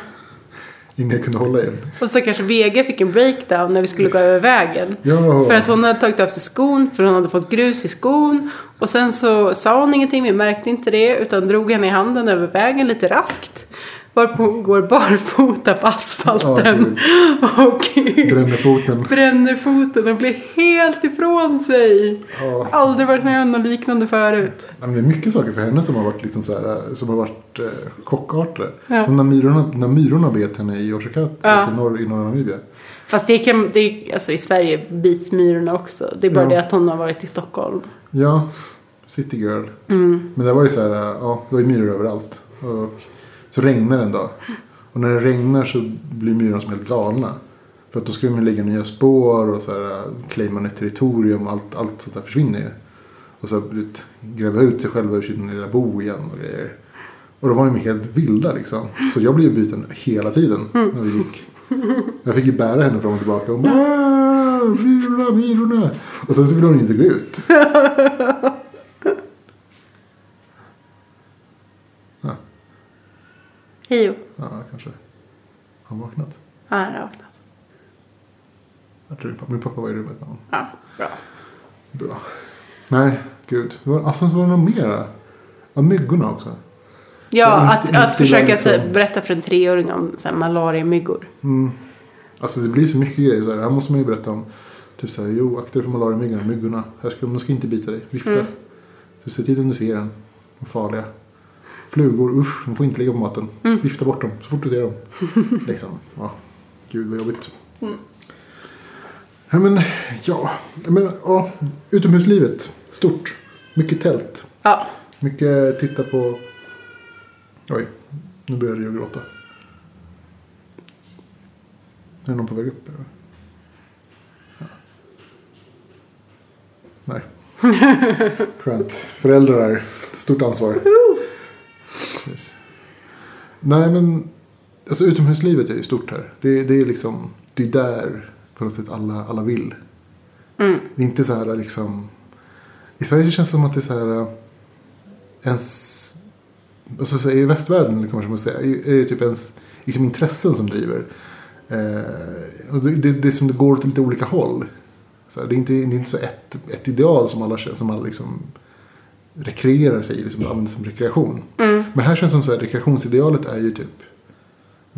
S1: Innan jag kunde hålla i den.
S2: Och så kanske Vega fick en breakdown när vi skulle gå över vägen.
S1: Ja,
S2: För att hon hade tagit av sig skon för hon hade fått grus i skon. Och sen så sa hon ingenting, vi märkte inte det. Utan drog henne i handen över vägen lite raskt. Varpå hon går barfota på asfalten. och
S1: brände foten.
S2: bränner foten och blir helt ifrån sig.
S1: Ja.
S2: Aldrig varit med om något liknande förut.
S1: Ja, men det är mycket saker för henne som har varit, liksom så här, som har varit eh, chockartade.
S2: Ja.
S1: Som när myrorna, när myrorna bet henne i Oshakat,
S2: Ja.
S1: alltså i norr, i norra Namibia.
S2: Fast det kan, det, alltså i Sverige bits myrorna också. Det är bara
S1: Ja.
S2: det att hon har varit i Stockholm.
S1: Ja, City Girl.
S2: Mm.
S1: Men där var det så här, äh, ja, det var ju myror överallt. Och så regnar det en dag. Och när det regnar så blir myrorna som helt galna. För att då ska de ju lägga nya spår och så här, äh, claima ett territorium och allt, allt sånt där försvinner ju. Och så du vet, gräva ut sig själva ur sin lilla bo igen och grejer. Och då var de ju helt vilda liksom. Så jag blev ju biten hela tiden när vi gick. Jag fick ju bära henne fram och tillbaka. Och bara, "Ah, myrorna, myrorna. Och sen så ville hon ju inte gå ut.
S2: Hej
S1: Ja, kanske. Har han vaknat?
S2: Ja, han har vaknat.
S1: Jag tror det är pappa. Min pappa var i rummet med honom.
S2: Ja, bra.
S1: Bra. Nej, gud. Det var- Alltså så var det något mera. Ja, myggorna också.
S2: Ja,
S1: Så
S2: att,
S1: inte-
S2: att
S1: inte
S2: försöka
S1: liksom-
S2: så, berätta för en treåring om så här, malariamyggor.
S1: Mm. Alltså det blir så mycket grejer. Så här, här måste man ju berätta om. Typ så här, jo akta dig för malariamyggorna. Myggorna. Här ska, de ska inte bita dig. Vifta.
S2: Mm.
S1: Så se till om du ser den. De är farliga. Flugor, usch. De får inte ligga på maten. Vifta bort dem så fort du ser dem. liksom. Ja. Gud vad jobbigt. Ja, men ja. Men, ja. Utomhuslivet. Stort. Mycket tält.
S2: Ja,
S1: Mycket titta på... Oj, nu började jag gråta. Är det någon på väg upp? Eller? Ja. Nej. Skönt. Föräldrar är ett stort ansvar. Precis. Nej men, alltså utomhuslivet är ju stort här. Det, det är liksom, det är där på något sätt alla, alla vill. Det är inte så här liksom, i Sverige känns det som att det är så här ens... Alltså, så I västvärlden eller kanske man ska säga, är det typ ens liksom, intressen som driver. Eh, och det, det, det är som det går åt lite olika håll. Så här, det, är inte, det är inte så ett, ett ideal som alla, kö- som alla liksom rekreerar sig i, liksom, använder som rekreation.
S2: Mm.
S1: Men här känns det som att rekreationsidealet är ju typ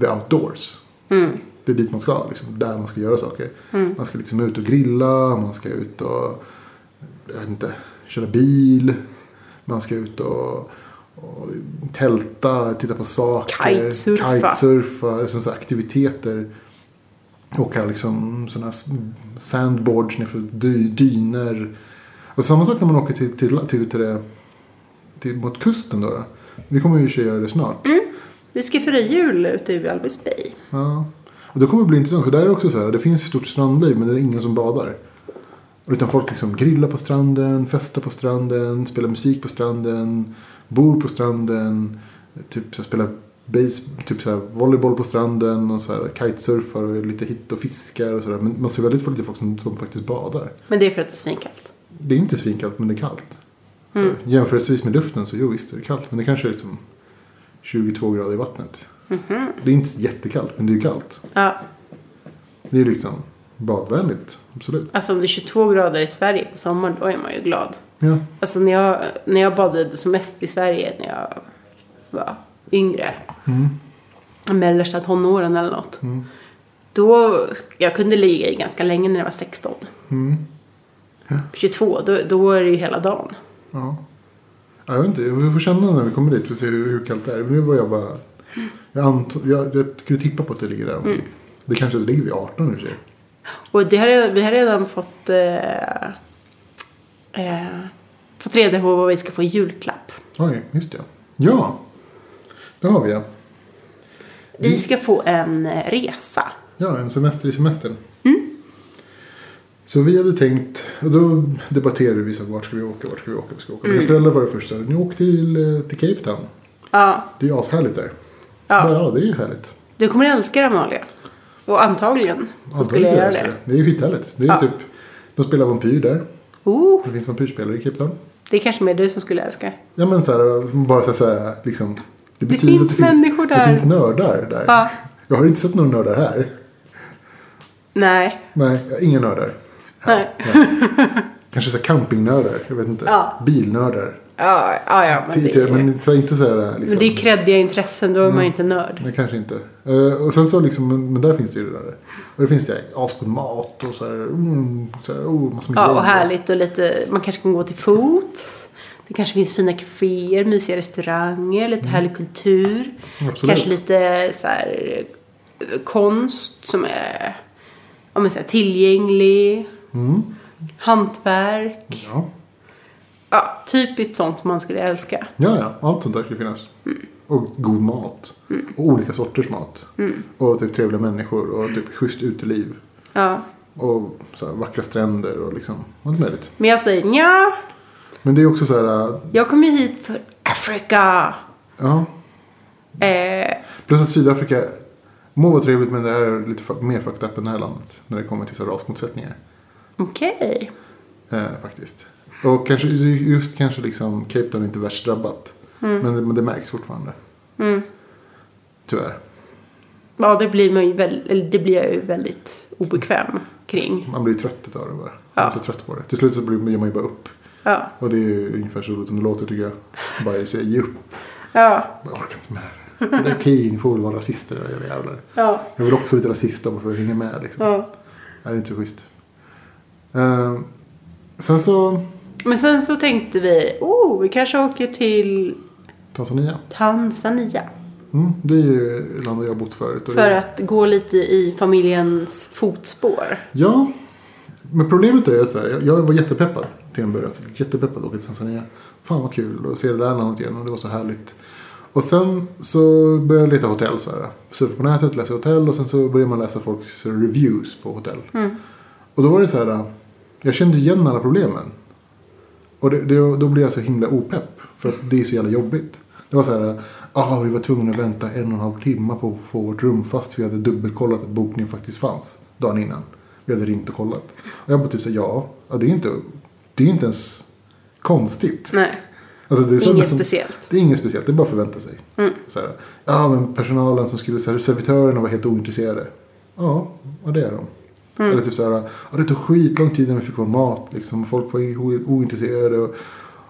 S1: the outdoors.
S2: Mm.
S1: Det är dit man ska, liksom, där man ska göra saker. Man ska liksom ut och grilla, man ska ut och jag vet inte, köra bil. Man ska ut och Och tälta, titta på saker.
S2: Kitesurfa.
S1: Kitesurfa, alltså så här aktiviteter. Åka liksom sådana här sandboards nerför dy, dyner. Och samma sak när man åker till, till, till, till, det, till mot kusten då. då. Vi kommer ju i och för sig göra det snart.
S2: Vi ska fira jul ute i Valby
S1: Ja. Och det kommer bli intressant för där är det också så här. Det finns ett stort strandliv men det är ingen som badar. Utan folk liksom grillar på stranden, festar på stranden, spelar musik på stranden, bor på stranden, typ så här, spelar base, typ så här, volleyboll på stranden och så här, kitesurfar och är lite hit och fiskar och sådär. Men man ser väldigt få lite folk som, som faktiskt badar.
S2: Men det är för att det är svinkallt.
S1: Det är inte svinkallt men det är kallt. Så, Jämförelsevis med luften så jo visst är det kallt men det kanske är liksom 22 grader i vattnet. Det är inte jättekallt men det är ju kallt.
S2: Mhm. Ja,
S1: Det är liksom badvänligt, absolut.
S2: alltså om det är 22 grader i Sverige på sommaren då är man ju glad.
S1: Ja,
S2: Alltså när jag, när jag badade som mest i Sverige när jag var yngre.
S1: Mm.
S2: Mellersta tonåren eller något. Då, jag kunde ligga i ganska länge när jag var 16.
S1: Mm.
S2: 22, då, då är det ju hela dagen.
S1: ja. Ja, Jag vet inte, vi får känna när vi kommer dit för att se hur, hur kallt det är. Nu var jag bara... Jag, ant- jag, jag skulle tippa på att det ligger där
S2: Mm.
S1: omkring. Det kanske ligger vid 18 nu sig.
S2: Och det har redan, vi har redan fått, eh, eh, fått reda på vad vi ska få i julklapp.
S1: Oj, just det. Ja! Det har vi ja.
S2: Vi ska få en eh, resa.
S1: Ja, en semester i semestern.
S2: Mm.
S1: Så vi hade tänkt, och då debatterade vi så här, vart ska vi åka, vart ska vi åka, vart ska vi åka.
S2: Mm.
S1: Mina föräldrar var det första, ni åkte till, eh, till Cape Town.
S2: Ja,
S1: Det är ju ashärligt där.
S2: Ja.
S1: Bara, ja, det är ju härligt.
S2: du kommer älska det Amalia. Och antagligen så skulle jag
S1: Antagligen
S2: göra
S1: älskar
S2: det.
S1: Det är ju skithärligt. Det är
S2: Ja.
S1: typ, de spelar vampyr där.
S2: Oh.
S1: Det finns vampyrspelare i Cape Town.
S2: Det är kanske mer du som skulle älska.
S1: Ja men så här, bara så här, så här liksom. Det,
S2: finns människor där.
S1: Det finns nördar där.
S2: Ja.
S1: Jag har inte sett några nördar här.
S2: Nej.
S1: Nej, jag har inga nördar.
S2: Nej.
S1: Kanske så här campingnördar, jag vet inte.
S2: Ja.
S1: Bilnördar.
S2: Ja, ja, ja men,
S1: Men,
S2: det är, men Mm.
S1: men så här, inte så här liksom.
S2: det är kreddiga intressen, då är man inte nörd.
S1: Nej, kanske inte. Eh, och sen så liksom, men, men där finns det ju det där. Och det finns det här, asgod mat och så här, mm, så här oh, massor med
S2: Ja, och
S1: grejer.
S2: härligt och lite, man kanske kan gå till fots. Det kanske finns fina kaféer, mysiga restauranger, lite härlig kultur.
S1: Absolut.
S2: Kanske lite så här, eh, konst som är om man säger, tillgänglig. Hantverk.
S1: Mm. Ja.
S2: Ja, typiskt sånt som man skulle älska.
S1: Ja, ja. Allt sånt där ska finnas. Och god mat. Och olika sorters mat. Och typ trevliga människor och typ schysst uteliv.
S2: Ja.
S1: Och så här vackra stränder och liksom allt möjligt.
S2: Men jag säger nja,
S1: Men det är också så här, äh,
S2: jag kom ju hit för Afrika.
S1: ja.
S2: Eh,
S1: Plus att Sydafrika må vara trevligt men det här är lite fu- mer fucked up än det här landet. När det kommer till så här rasmotsättningar.
S2: Okej.
S1: Eh, faktiskt. Och kanske, just kanske liksom Cape Town är inte värst drabbat. Men, det, men det märks fortfarande. Tyvärr.
S2: Ja, det blir, man ju väl, eller det blir jag ju väldigt obekväm kring.
S1: Man blir trött utav det bara.
S2: Ja.
S1: Man blir så trött på det. Till slut så blir ger man ju bara upp.
S2: Ja.
S1: Och det är ju ungefär så roligt som det låter tycker jag. Bara säga ge upp.
S2: Ja.
S1: Jag orkar inte med det här. Det är okej, ni får väl vara rasister era jävla jävlar.
S2: Ja.
S1: Jag vill också lite rasist bara för att hänga med liksom.
S2: ja.
S1: Det är inte så schysst. Eh, sen så
S2: Men sen så tänkte vi, oh, vi kanske åker till
S1: Tanzania.
S2: Tanzania.
S1: Mm, det är ju ett land jag har bott förut. och det-
S2: För att gå lite i familjens fotspår.
S1: Ja, men problemet är att så här, jag- jag var jättepeppad till en början. Så jättepeppad att åka till Tanzania. Fan vad kul och se det där landet igen och det var så härligt. Och sen så började jag leta hotell så här. Surfa på nätet, läsa hotell och sen så började man läsa folks reviews på hotell. Och då var det så här, jag kände igen alla problemen. Och det, det, då blev jag så himla opepp. För att det är så jävla jobbigt. Det var så här, ah, vi var tvungna att vänta en och en halv timme på att få vårt rum fast vi hade dubbelkollat att bokningen faktiskt fanns dagen innan. Vi hade ringt och kollat. Och jag bara typ så här, ja, ja, det är inte, det är inte ens konstigt.
S2: Nej,
S1: Alltså, det är så
S2: inget
S1: nästan-
S2: speciellt. Mm.
S1: det är inget speciellt, det är bara att förvänta sig. Så här, ja, men personalen som skulle, så här, servitörerna var helt ointresserade. Ja, ja det är de.
S2: Mm.
S1: Eller typ så här, ja, det tog skitlång tid innan vi fick vår mat. Liksom. Folk var o- ointresserade. Och,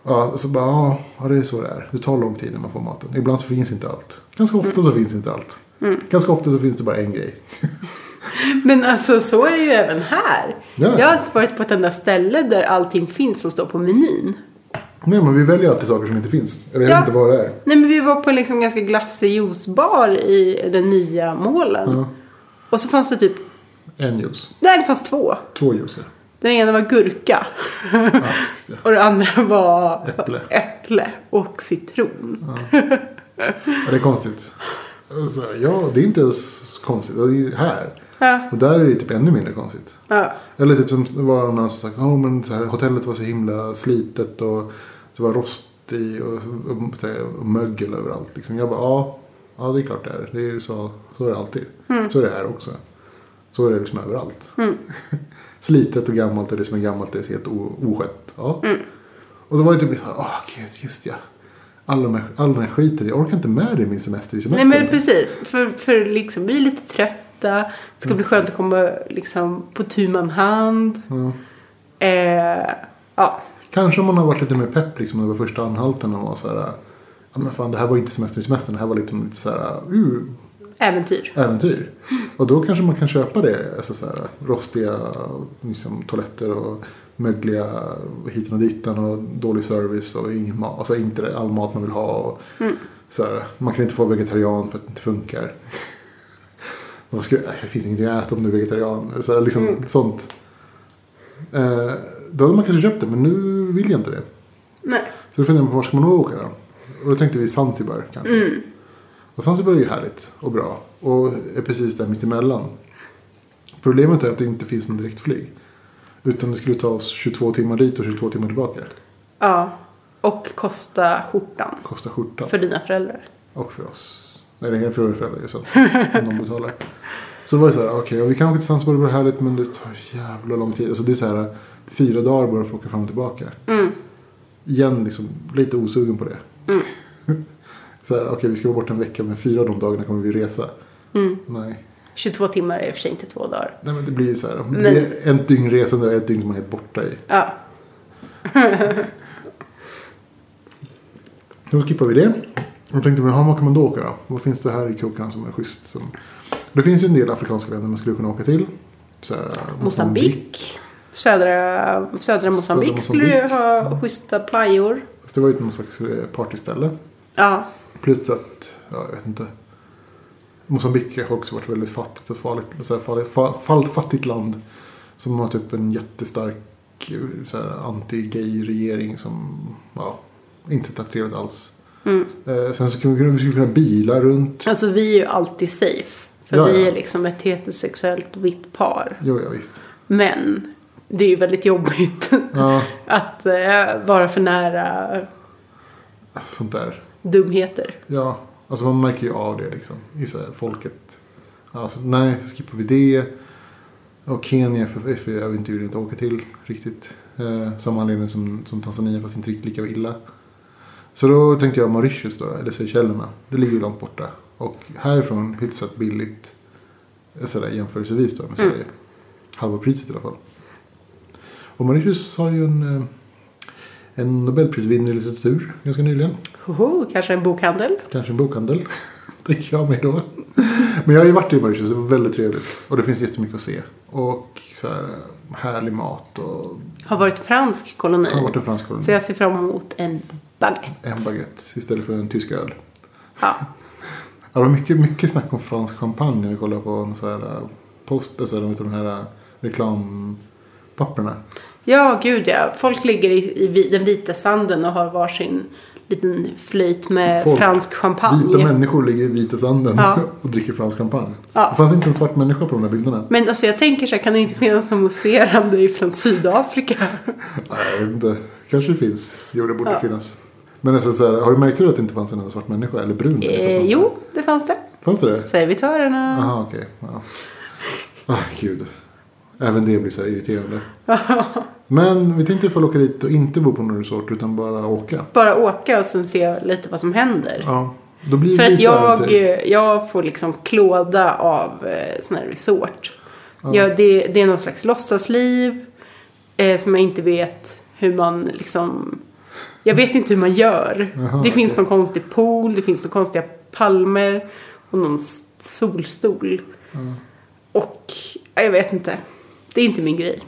S1: ja, och så bara, ja, ja, det är så det är. Det tar lång tid när man får maten. Ibland så finns inte allt. Ganska
S2: Mm.
S1: ofta så finns inte allt. Ganska ofta så finns det bara en grej.
S2: Men alltså så är det ju även här.
S1: Ja.
S2: Jag har inte varit på ett enda ställe där allting finns som står på menyn.
S1: Nej, men vi väljer alltid saker som inte finns. Eller jag
S2: Ja.
S1: vet inte vad det är.
S2: Nej men vi var på en liksom ganska glassig juicebar i den nya målen.
S1: Ja.
S2: Och så fanns det typ,
S1: En juice.
S2: nej det fanns två.
S1: Två juicer.
S2: Den ena var gurka.
S1: Ja, just det.
S2: Och den andra var
S1: Äpple.
S2: äpple och citron.
S1: Ja, det är konstigt. Så, här, ja, det är inte ens konstigt. Det är ju här.
S2: Ja.
S1: Och där är det typ ännu mindre konstigt.
S2: Ja.
S1: Eller typ som det var någon som sagt, oh, men så här, hotellet var så himla slitet och det var rost i och, och, så här, och mögel överallt. Liksom. Jag bara, ja, ja det är klart det är. Det är ju så, så är det alltid.
S2: Mm.
S1: Så är det här också. Så är det liksom överallt. slitet och gammalt och det som är gammalt det är helt o- oskött. Ja.
S2: Mm.
S1: Och så var det typ så här, åh gud, just ja. All, de här, all den här skiten, jag orkar inte med det i min semester i
S2: Nej
S1: semestern.
S2: men precis. För, för liksom, vi är lite trötta. Det ska bli skönt att komma liksom, på tu man hand.
S1: Ja.
S2: Eh, ja.
S1: Kanske om man har varit lite mer pepp liksom över första anhalten och var så här. Ja men fan det här var inte semester i semestern. Det här var liksom lite så här. Uh,
S2: Äventyr.
S1: äventyr. Och då kanske man kan köpa det. Alltså så här, rostiga liksom, toaletter och mögliga hiten och ditan och dålig service och ingen mat. Alltså inte det- all mat man vill ha. Och, så här, man kan inte få vegetarian för att det inte funkar. Man ska, äh, det finns ingenting att äta om du är vegetarian. Så här, liksom sånt. Eh, då hade man kanske köpt det men nu vill jag inte det.
S2: Nej.
S1: Så då funderade jag på var ska man då åka då? Och då tänkte vi Zanzibar kanske. Och Zanzibar är ju härligt och bra. Och är precis där mittemellan. Problemet är att det inte finns någon direktflyg. Utan det skulle ta oss 22 timmar dit och 22 timmar tillbaka.
S2: Ja. Och kosta skjortan.
S1: Kostar skjortan.
S2: För dina föräldrar.
S1: Och för oss. Nej, det är för våra föräldrar ju så att om de betalar. Så det var ju så här, okej, och vi kan åka till Zanzibar, det var härligt men det tar jävla lång tid. Alltså det är så här, fyra dagar bara för att åka fram och tillbaka. Igen liksom, lite osugen på det. så här, okej vi ska vara borta en vecka men fyra av de dagarna kommer vi resa. Nej.
S2: 22 Mm. timmar är i och för sig inte två dagar.
S1: Nej men det blir ju så här,
S2: Men-
S1: det är ett dygn resande och ett dygn som man är helt borta i.
S2: Ja.
S1: Då skippar vi det. Jag tänkte, men jaha, vad kan man då åka då? Vad finns det här i krokarna som är schysst? Som... Det finns ju en del afrikanska länder man skulle kunna åka till. Så här,
S2: Mosambik. Södra, södra Mosambik skulle ju ha schyssta plajor.
S1: Fast det var ju ett någon slags eh, partyställe.
S2: Ja.
S1: Plus att, ja, jag vet inte. Mosambik har också varit väldigt fattigt och farligt. Så här, farligt, fa, fall- fattigt land. Som har typ en jättestark eh, så här, anti-gay-regering som ja, inte tar trevligt alls. Eh, sen så skulle vi, kunna- vi skulle kunna bila runt.
S2: Mm. Alltså vi är ju alltid safe. För
S1: Ja, ja.
S2: vi är liksom ett heterosexuellt vitt par.
S1: Jo, ja, visst.
S2: Men det är ju väldigt jobbigt
S1: Ja,
S2: att eh, vara för nära
S1: sånt där.
S2: dumheter.
S1: Ja, alltså man märker ju av det liksom. I så här, folket. Alltså, nej, så skippar vi det. Och Kenya för, för jag vill inte vill inte åka till riktigt. Eh, samma anledning som, som Tanzania fast inte riktigt lika illa. Så då tänkte jag Mauritius då, eller Seychellerna. Det ligger ju långt borta. Och härifrån hyfsat billigt. eh, Så där, jämförelsevis då med Sverige. Halva priset i alla fall. Och Mauritius har ju en, eh, en Nobelprisvinnare i litteratur ganska nyligen.
S2: Hoho, kanske en bokhandel.
S1: Kanske en bokhandel. Tänker jag mig då. Men jag har ju varit i Mauritius. Det var väldigt trevligt. Och det finns jättemycket att se. Och så här härlig mat. Och
S2: Har varit fransk
S1: det har
S2: koloni.
S1: varit en fransk koloni.
S2: Så jag ser fram emot en baguette.
S1: En baguette istället för en tysk öl.
S2: Ja.
S1: Ja, Det var mycket, mycket snack om fransk champagne. När vi kollade på en så här post. Alltså, de, vet, de här reklampapperna.
S2: ja, gud ja. Folk ligger i, i vi- den vita sanden och har varsin liten flöjt med
S1: Folk.
S2: fransk champagne.
S1: Vita människor ligger i vita sanden
S2: Ja.
S1: och dricker fransk champagne.
S2: Ja.
S1: Det fanns inte en svart människa på de där bilderna.
S2: Men alltså jag tänker så här, kan det inte finnas någon mousserande ifrån Sydafrika?
S1: Nej, jag vet inte. Kanske det finns. Jo, det borde
S2: Ja.
S1: finnas. Men alltså, så här, har du märkt att det inte fanns en enda svart människa? Eller brun människa?
S2: Eh, jo, det fanns det.
S1: Fanns det det?
S2: Servitörerna.
S1: Jaha, okej. Ja. Ah, gud. Även det blir så här irriterande. Men vi tänkte ifall åka dit och inte bo på någon resort utan bara åka.
S2: Bara åka och sen se lite vad som händer.
S1: Ja. Då blir det
S2: För att
S1: lite typ.
S2: jag,
S1: äventyr.
S2: jag får liksom klåda av eh, sån här resort. Ja, det, det är någon slags låtsasliv eh, som jag inte vet hur man liksom... Jag vet inte hur man gör.
S1: Jaha,
S2: det finns någon konstig pool, det finns några konstiga palmer och någon s- solstol. Och ja, jag vet inte. Det är inte min grej.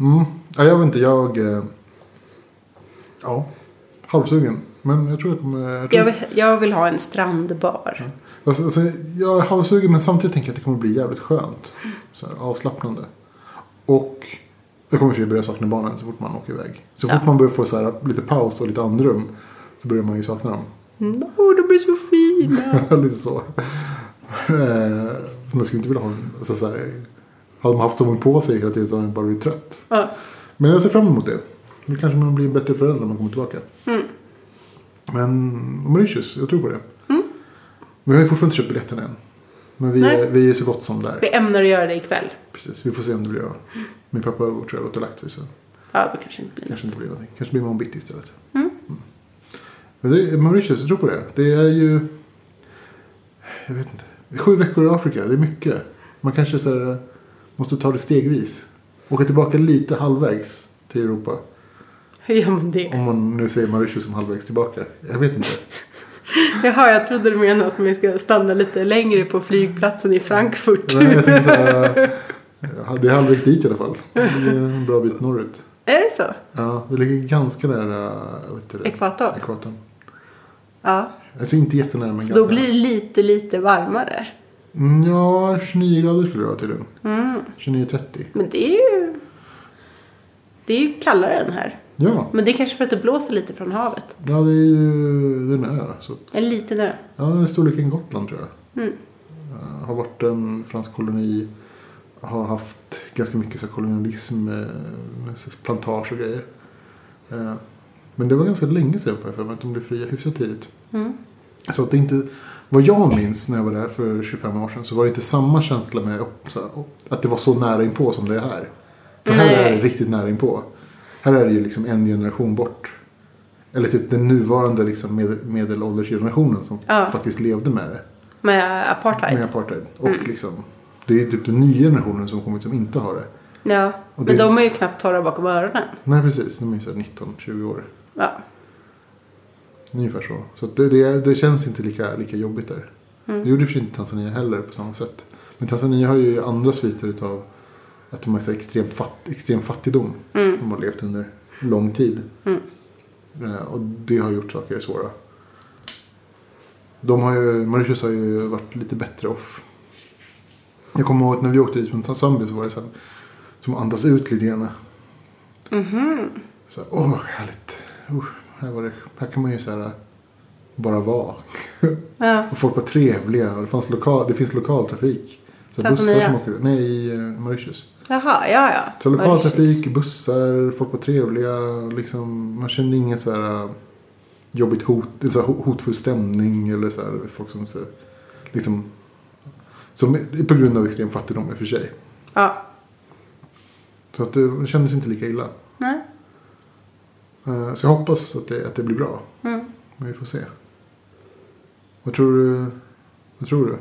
S1: Mm. Ja, jag vet inte, jag... eh, Ja. halvsugen. Men jag tror jag kommer... Jag, tror...
S2: Jag vill, jag vill ha en strandbar.
S1: Alltså, alltså, jag är halvsugen men samtidigt tänker jag att det kommer bli jävligt skönt. Så här, avslappnande. Och jag kommer ju börja sakna barnen så fort man åker iväg. Så
S2: Ja.
S1: fort man börjar få så här, lite paus och lite andrum så börjar man ju sakna dem.
S2: Mm. Åh, de är så fina.
S1: lite så. Eh, man skulle inte vilja ha en... Alltså, så här, hade man haft dem på sig hela tiden så hade man bara blivit trött.
S2: ja.
S1: Men jag ser fram emot det. Då kanske man blir en bättre förälder när man kommer tillbaka. Men och Mauritius, jag tror på det. Vi har ju fortfarande inte köpt biljetterna än. Men vi,
S2: Nej.
S1: är- vi är så gott som där.
S2: Vi ämnar att göra det ikväll.
S1: Precis, vi får se om det blir av. Min pappa tror jag har gått och lagt sig så
S2: Ja, det kanske inte blir
S1: kanske
S2: något.
S1: inte blir någonting. Kanske blir man bitti istället. Mm. Men det är Mauritius, jag tror på det. Det är ju... Jag vet inte. Det är Sju veckor i Afrika, det är mycket. Man kanske så här, måste ta det stegvis. Åka tillbaka lite halvvägs till Europa.
S2: Hur gör man det?
S1: Om man nu säger Mauritius som halvvägs tillbaka. Jag vet inte.
S2: Jaha, jag trodde du menade att man ska stanna lite längre på flygplatsen i Frankfurt.
S1: Men jag tänkte så här, eh, det är halvvägs dit i alla fall. Det är en bra bit norrut.
S2: Är det så?
S1: Ja, det ligger ganska nära eh, vad heter det?
S2: Ekvatorn?
S1: ekvatorn.
S2: Ja.
S1: Alltså inte jättenära men
S2: Så
S1: ganska
S2: då blir det lite, lite varmare.
S1: Mm, Ja, 29 grader skulle det vara tydligen. 29-30.
S2: Mm. Men det är ju... Det är ju kallare än här.
S1: Ja.
S2: Men det är kanske för att det blåser lite från havet.
S1: ja, det är ju det är en ö. Så att,
S2: En liten ö.
S1: ja, den är storleken Gotland tror jag.
S2: Mm.
S1: Eh, har varit en fransk koloni. Har haft ganska mycket så här, kolonialism, eh, med så här plantage och grejer. Eh, men det var ganska länge sedan får jag för mig att de blev fria hyfsat tidigt.
S2: Mm.
S1: Så att det inte, vad jag minns när jag var där för 25 år sedan så var det inte samma känsla med upp- så här, upp- att det var så nära inpå som det är här. För här är
S2: Nej.
S1: det riktigt nära inpå. Här är det ju liksom en generation bort. Eller typ den nuvarande liksom med, medelåldersgenerationen som
S2: Ja.
S1: faktiskt levde med det.
S2: Med apartheid.
S1: Med apartheid. Och
S2: Mm.
S1: liksom, det är typ den nya generationen som kommit som inte har det.
S2: Ja.
S1: Och
S2: Men
S1: det-
S2: de är ju knappt torra bakom öronen.
S1: Nej precis, de är ju så här 19-20 år.
S2: Ja.
S1: Ungefär så. Så att det, det, det känns inte lika, lika jobbigt där.
S2: Mm.
S1: Det gjorde i och för sig inte Tanzania heller på samma sätt. Men Tanzania har ju andra sviter utav att de har så här extrem, fatt, extrem fattigdom.
S2: Mm.
S1: De har levt under lång tid.
S2: Mm.
S1: Eh, Och det har gjort saker svåra. De har ju, Mauritius har ju varit lite bättre off. Jag kommer ihåg att när vi åkte dit från Tanzambia så var det så här, som att andas ut lite grann.
S2: Mhm.
S1: Så här, åh vad härligt. Uh, här, var det, här kan man ju så här, bara vara.
S2: Ja.
S1: Och folk var trevliga och det, fanns lokal, det finns lokal trafik. Så här bussar
S2: Tanzania?
S1: som åker Nej, i eh, Mauritius.
S2: Jaha, ja, ja.
S1: Så lokal
S2: Mauritius.
S1: trafik, bussar, folk var trevliga. Liksom, man kände inget så här eh, jobbigt hot, eller så här ho- hotfull stämning eller så här, vet, folk som så, här, liksom som är- på grund av extrem fattigdom i och för sig.
S2: Ja.
S1: Så att det kändes inte lika illa.
S2: Nej.
S1: Eh, Så jag hoppas att det, att det blir bra.
S2: Mm.
S1: Men vi får se. Vad tror du? Vad tror du?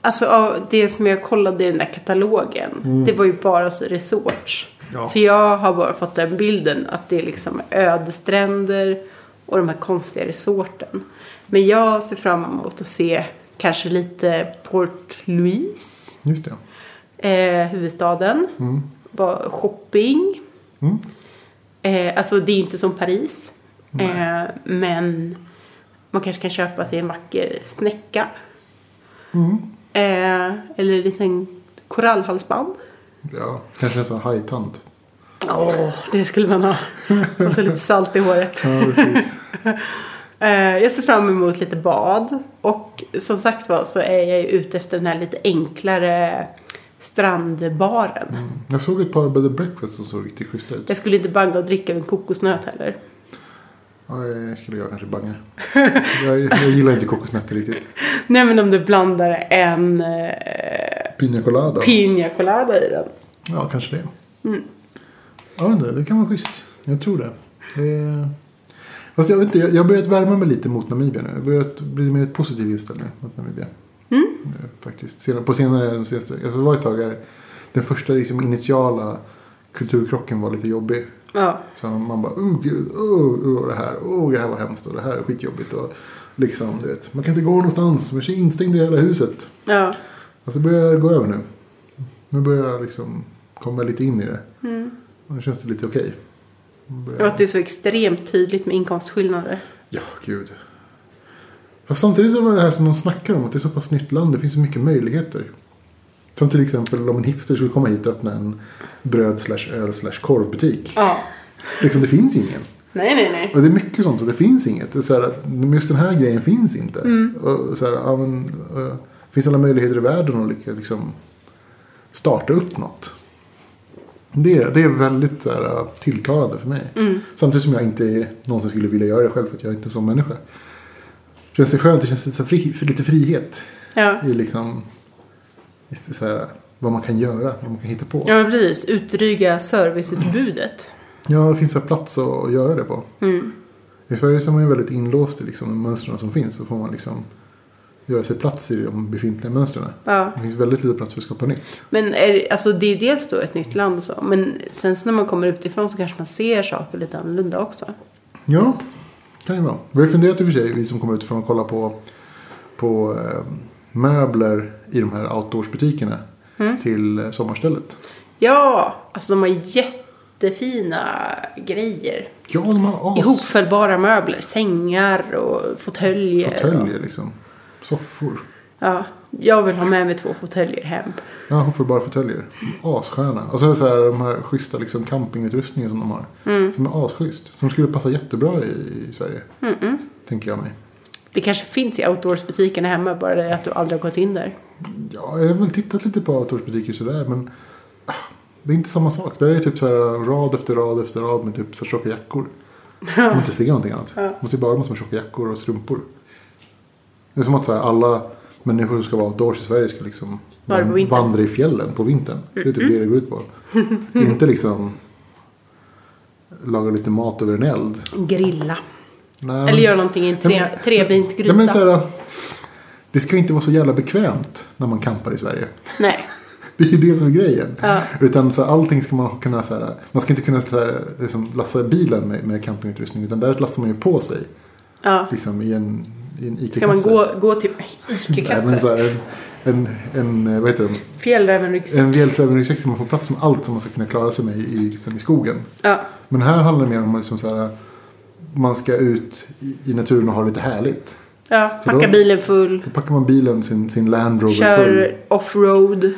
S2: Alltså av det som jag kollade i den där katalogen.
S1: Mm.
S2: Det var ju bara så resorts.
S1: Ja.
S2: Så jag har bara fått den bilden att det är liksom ödestränder och de här konstiga resorten. Men jag ser fram emot att se kanske lite Port Louis,
S1: Just det.
S2: eh, huvudstaden.
S1: Mm.
S2: Bara Shopping.
S1: Mm.
S2: Eh, alltså det är ju inte som Paris. Eh, men man kanske kan köpa sig en vacker snäcka.
S1: Mm.
S2: Eh, eller en liten korallhalsband.
S1: Ja, kanske en sån hajtand.
S2: Åh, det skulle man ha. Och så lite salt i håret.
S1: Ja, precis.
S2: Eh, jag ser fram emot lite bad. Och som sagt var så är jag ju ute efter den här lite enklare strandbaren.
S1: Mm. Jag såg ett par bed and breakfast som såg riktigt schyssta ut.
S2: Jag skulle inte banga och dricka en kokosnöt heller.
S1: Ja, jag skulle jag kanske banga. Jag, jag gillar inte kokosnötter riktigt.
S2: Nej men om du blandar en eh,
S1: Pina colada.
S2: piña colada i den.
S1: ja, kanske det. Jag vet inte, det kan vara schysst. Jag tror det. det... Fast jag vet inte, jag jag har börjat värma mig lite mot Namibia nu. Jag har börjat bli mer positiv inställning mot Namibia. Eh, Faktiskt. Senare, på senare, de senaste, jag var ett tag där den första liksom, initiala kulturkrocken var lite jobbig.
S2: Ja.
S1: Så man bara, oh gud, oh, oh det här, oh det här var hemskt och det här är skitjobbigt. Och liksom, du vet, man kan inte gå någonstans, man är instängd i hela huset.
S2: Ja.
S1: Alltså det börjar gå över nu. Nu börjar jag liksom komma lite in i det. Och nu känns det lite okej.
S2: Och att Mm. det är så extremt tydligt med inkomstskillnader.
S1: Ja, gud. Fast samtidigt så var det här som de snackar om, att det är så pass nytt land. Det finns så mycket möjligheter. Som till exempel om en hipster skulle komma hit och öppna en bröd slash öl slash korvbutik.
S2: Ja.
S1: Liksom, det finns ju ingen.
S2: Nej, nej, nej.
S1: Och det är mycket sånt, så det finns inget. Det är Så här, att just den här grejen finns inte. Och så här, ja, men, eh, finns alla möjligheter i världen att lyckas liksom, starta upp något. Det, det är väldigt så här, eh, tilltalande för mig.
S2: Mm.
S1: Samtidigt som jag inte någonsin skulle vilja göra det själv för att jag är inte är som människa. Känns det skönt? Det känns lite, så här fri, för lite frihet
S2: Ja.
S1: i liksom, just det, så här, vad man kan göra, vad man kan hitta på.
S2: Ja, men precis. Utdryga serviceutbudet.
S1: Ja, det finns en plats att att göra det på.
S2: Mm.
S1: I Sverige så är man ju väldigt inlåst i liksom, de mönstren som finns. Så får man liksom göra sig plats i de befintliga mönstren.
S2: Ja.
S1: Det finns väldigt lite plats för att skapa nytt.
S2: Men är, alltså, det är ju dels då ett nytt land och så. Men sen så när man kommer utifrån så kanske man ser saker lite annorlunda också.
S1: Ja, kan ju vara. Vi har ju funderat i och för sig, vi som kommer utifrån och kollar på, på eh, möbler i de här outdoorsbutikerna. Till eh, sommarstället.
S2: Ja, alltså de har jättefina grejer.
S1: Ja, de har as.
S2: Ihopfällbara möbler, sängar och fåtöljer. och-
S1: Fåtöljer liksom. Soffor.
S2: Ja, jag vill ha med mig två fåtöljer hem.
S1: Ja, hopfällbara fåtöljer. Assköna. Och så är det så här, de här schyssta liksom, campingutrustningen som de har. Som är asschysst. Som skulle passa jättebra i, i Sverige. Tänker jag mig.
S2: Det kanske finns i outdoorsbutikerna hemma, bara det att du aldrig har gått in där.
S1: Ja, jag har väl tittat lite på outdoorsbutiker sådär men ah, det är inte samma sak. Där är det typ så här rad efter rad efter rad med typ så här tjocka jackor. Man inte ser någonting annat. Man ser bara de som har tjocka jackor och strumpor. Det är som att så här, alla människor som ska vara outdoors i Sverige ska liksom
S2: Bara på
S1: van-
S2: vintern.
S1: vandra i fjällen på vintern. Det är typ det det går ut på. inte liksom laga lite mat över en eld.
S2: Grilla.
S1: Nej,
S2: Eller göra någonting i en
S1: Ja,
S2: tre,
S1: men-
S2: trebint
S1: Ja,
S2: gryta.
S1: men så här, det ska inte vara så jävla bekvämt när man campar i Sverige.
S2: Nej.
S1: Det är ju det som är grejen.
S2: Ja.
S1: Utan så här, allting ska man kunna så här, man ska inte kunna så här, liksom, lassa bilen med, med campingutrustning utan där lastar man ju på sig.
S2: Ja.
S1: Liksom i en, i en
S2: Ska
S1: ICA-kasse.
S2: man gå, gå till
S1: Nej, men så
S2: Ica-kassen?
S1: här, en, en, en, vad heter det?
S2: Fjällrävenryggsäck?
S1: En välfärdsryggsäck som man får plats med allt som man ska kunna klara sig med i, i, liksom, i skogen.
S2: Ja.
S1: Men här handlar det mer om liksom, så här, man ska ut i, i naturen och ha lite härligt.
S2: ja.
S1: Så
S2: Packa
S1: då-
S2: bilen full.
S1: Då packar man bilen, sin, sin Land Rover full.
S2: Kör offroad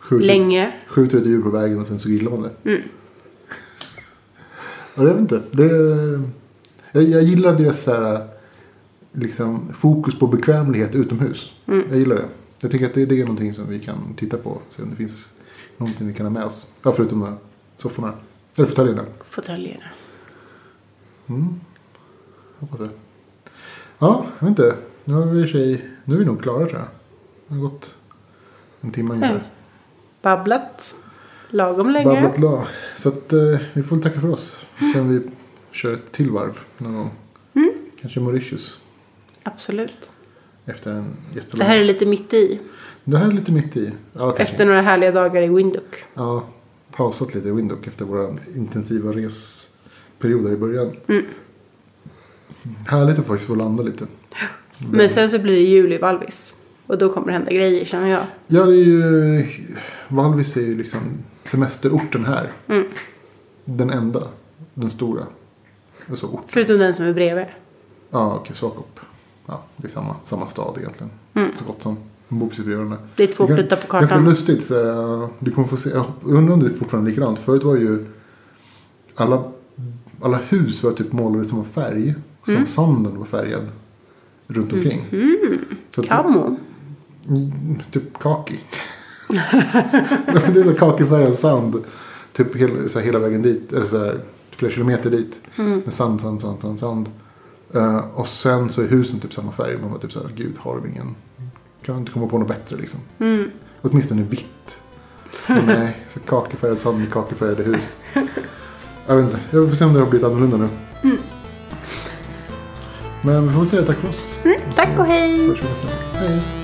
S1: skjuter-
S2: länge.
S1: Skjuter ett djur på vägen och sen så grillar man det. Ja, jag vet inte. Det, jag, jag gillar deras så här, liksom, fokus på bekvämlighet utomhus. Jag gillar det. Jag tycker att det, det är någonting som vi kan titta på. Se om det finns någonting vi kan ha med oss. Ja, förutom de här sofforna. Eller fåtöljerna. Mm.
S2: Fåtöljerna.
S1: Hoppas det. Ja, jag vet inte. Nu, har vi i och för sig, nu är vi nog klara tror jag. Det har gått en timme ungefär.
S2: Mm. Babblat. Lagom länge. Mm.
S1: Babblat la. Så att eh, vi får väl tacka för oss. Sen vi kör ett till varv någon gång. Kanske Mauritius.
S2: Absolut.
S1: Efter en jättelång...
S2: Det här är lite mitt i.
S1: Det här är lite mitt i. Ja, kanske.
S2: Efter några härliga dagar i Windhoek.
S1: Ja, pausat lite i Windhoek efter våra intensiva resperioder i början.
S2: Mm.
S1: Härligt att faktiskt få landa lite. Mm.
S2: Men sen så blir det jul i Valvis. Och då kommer det hända grejer känner jag.
S1: Ja, det är ju... Valvis är ju liksom semesterorten här.
S2: Mm.
S1: Den enda. Den stora. Alltså ort.
S2: Förutom den som är bredvid.
S1: Ja, okej, Svakop. Ja, det är samma, samma stad egentligen. Så gott som. De bor precis bredvid varandra.
S2: Det är två
S1: Det är
S2: pluttar på
S1: Ganska
S2: kartan.
S1: lustigt. Så här, äh, du kommer få se, jag hop- undrar om det är fortfarande likadant. Förut var det ju alla, alla hus var typ målade i samma färg. Som sanden var färgad runt omkring.
S2: Mm. Mhm.
S1: Så att,
S2: Camo.
S1: Mm, typ kaki. det är så kakifärgad sand. Typ hela, så här, hela vägen dit. Eller så här, flera kilometer dit. Med sand, sand, sand, sand, sand. Eh, och sen så är husen typ samma färg. Man var typ så här, gud har de ingen. Kan inte komma på något bättre liksom.
S2: Mm.
S1: Åtminstone vitt. Men nej, så kakifärgad sand med kakifärgade hus. Jag vet inte, jag får se om det har blivit annorlunda nu. Men vi får väl säga tack för oss.
S2: Tack och hej!
S1: Hörs vi nästa gång. Hej!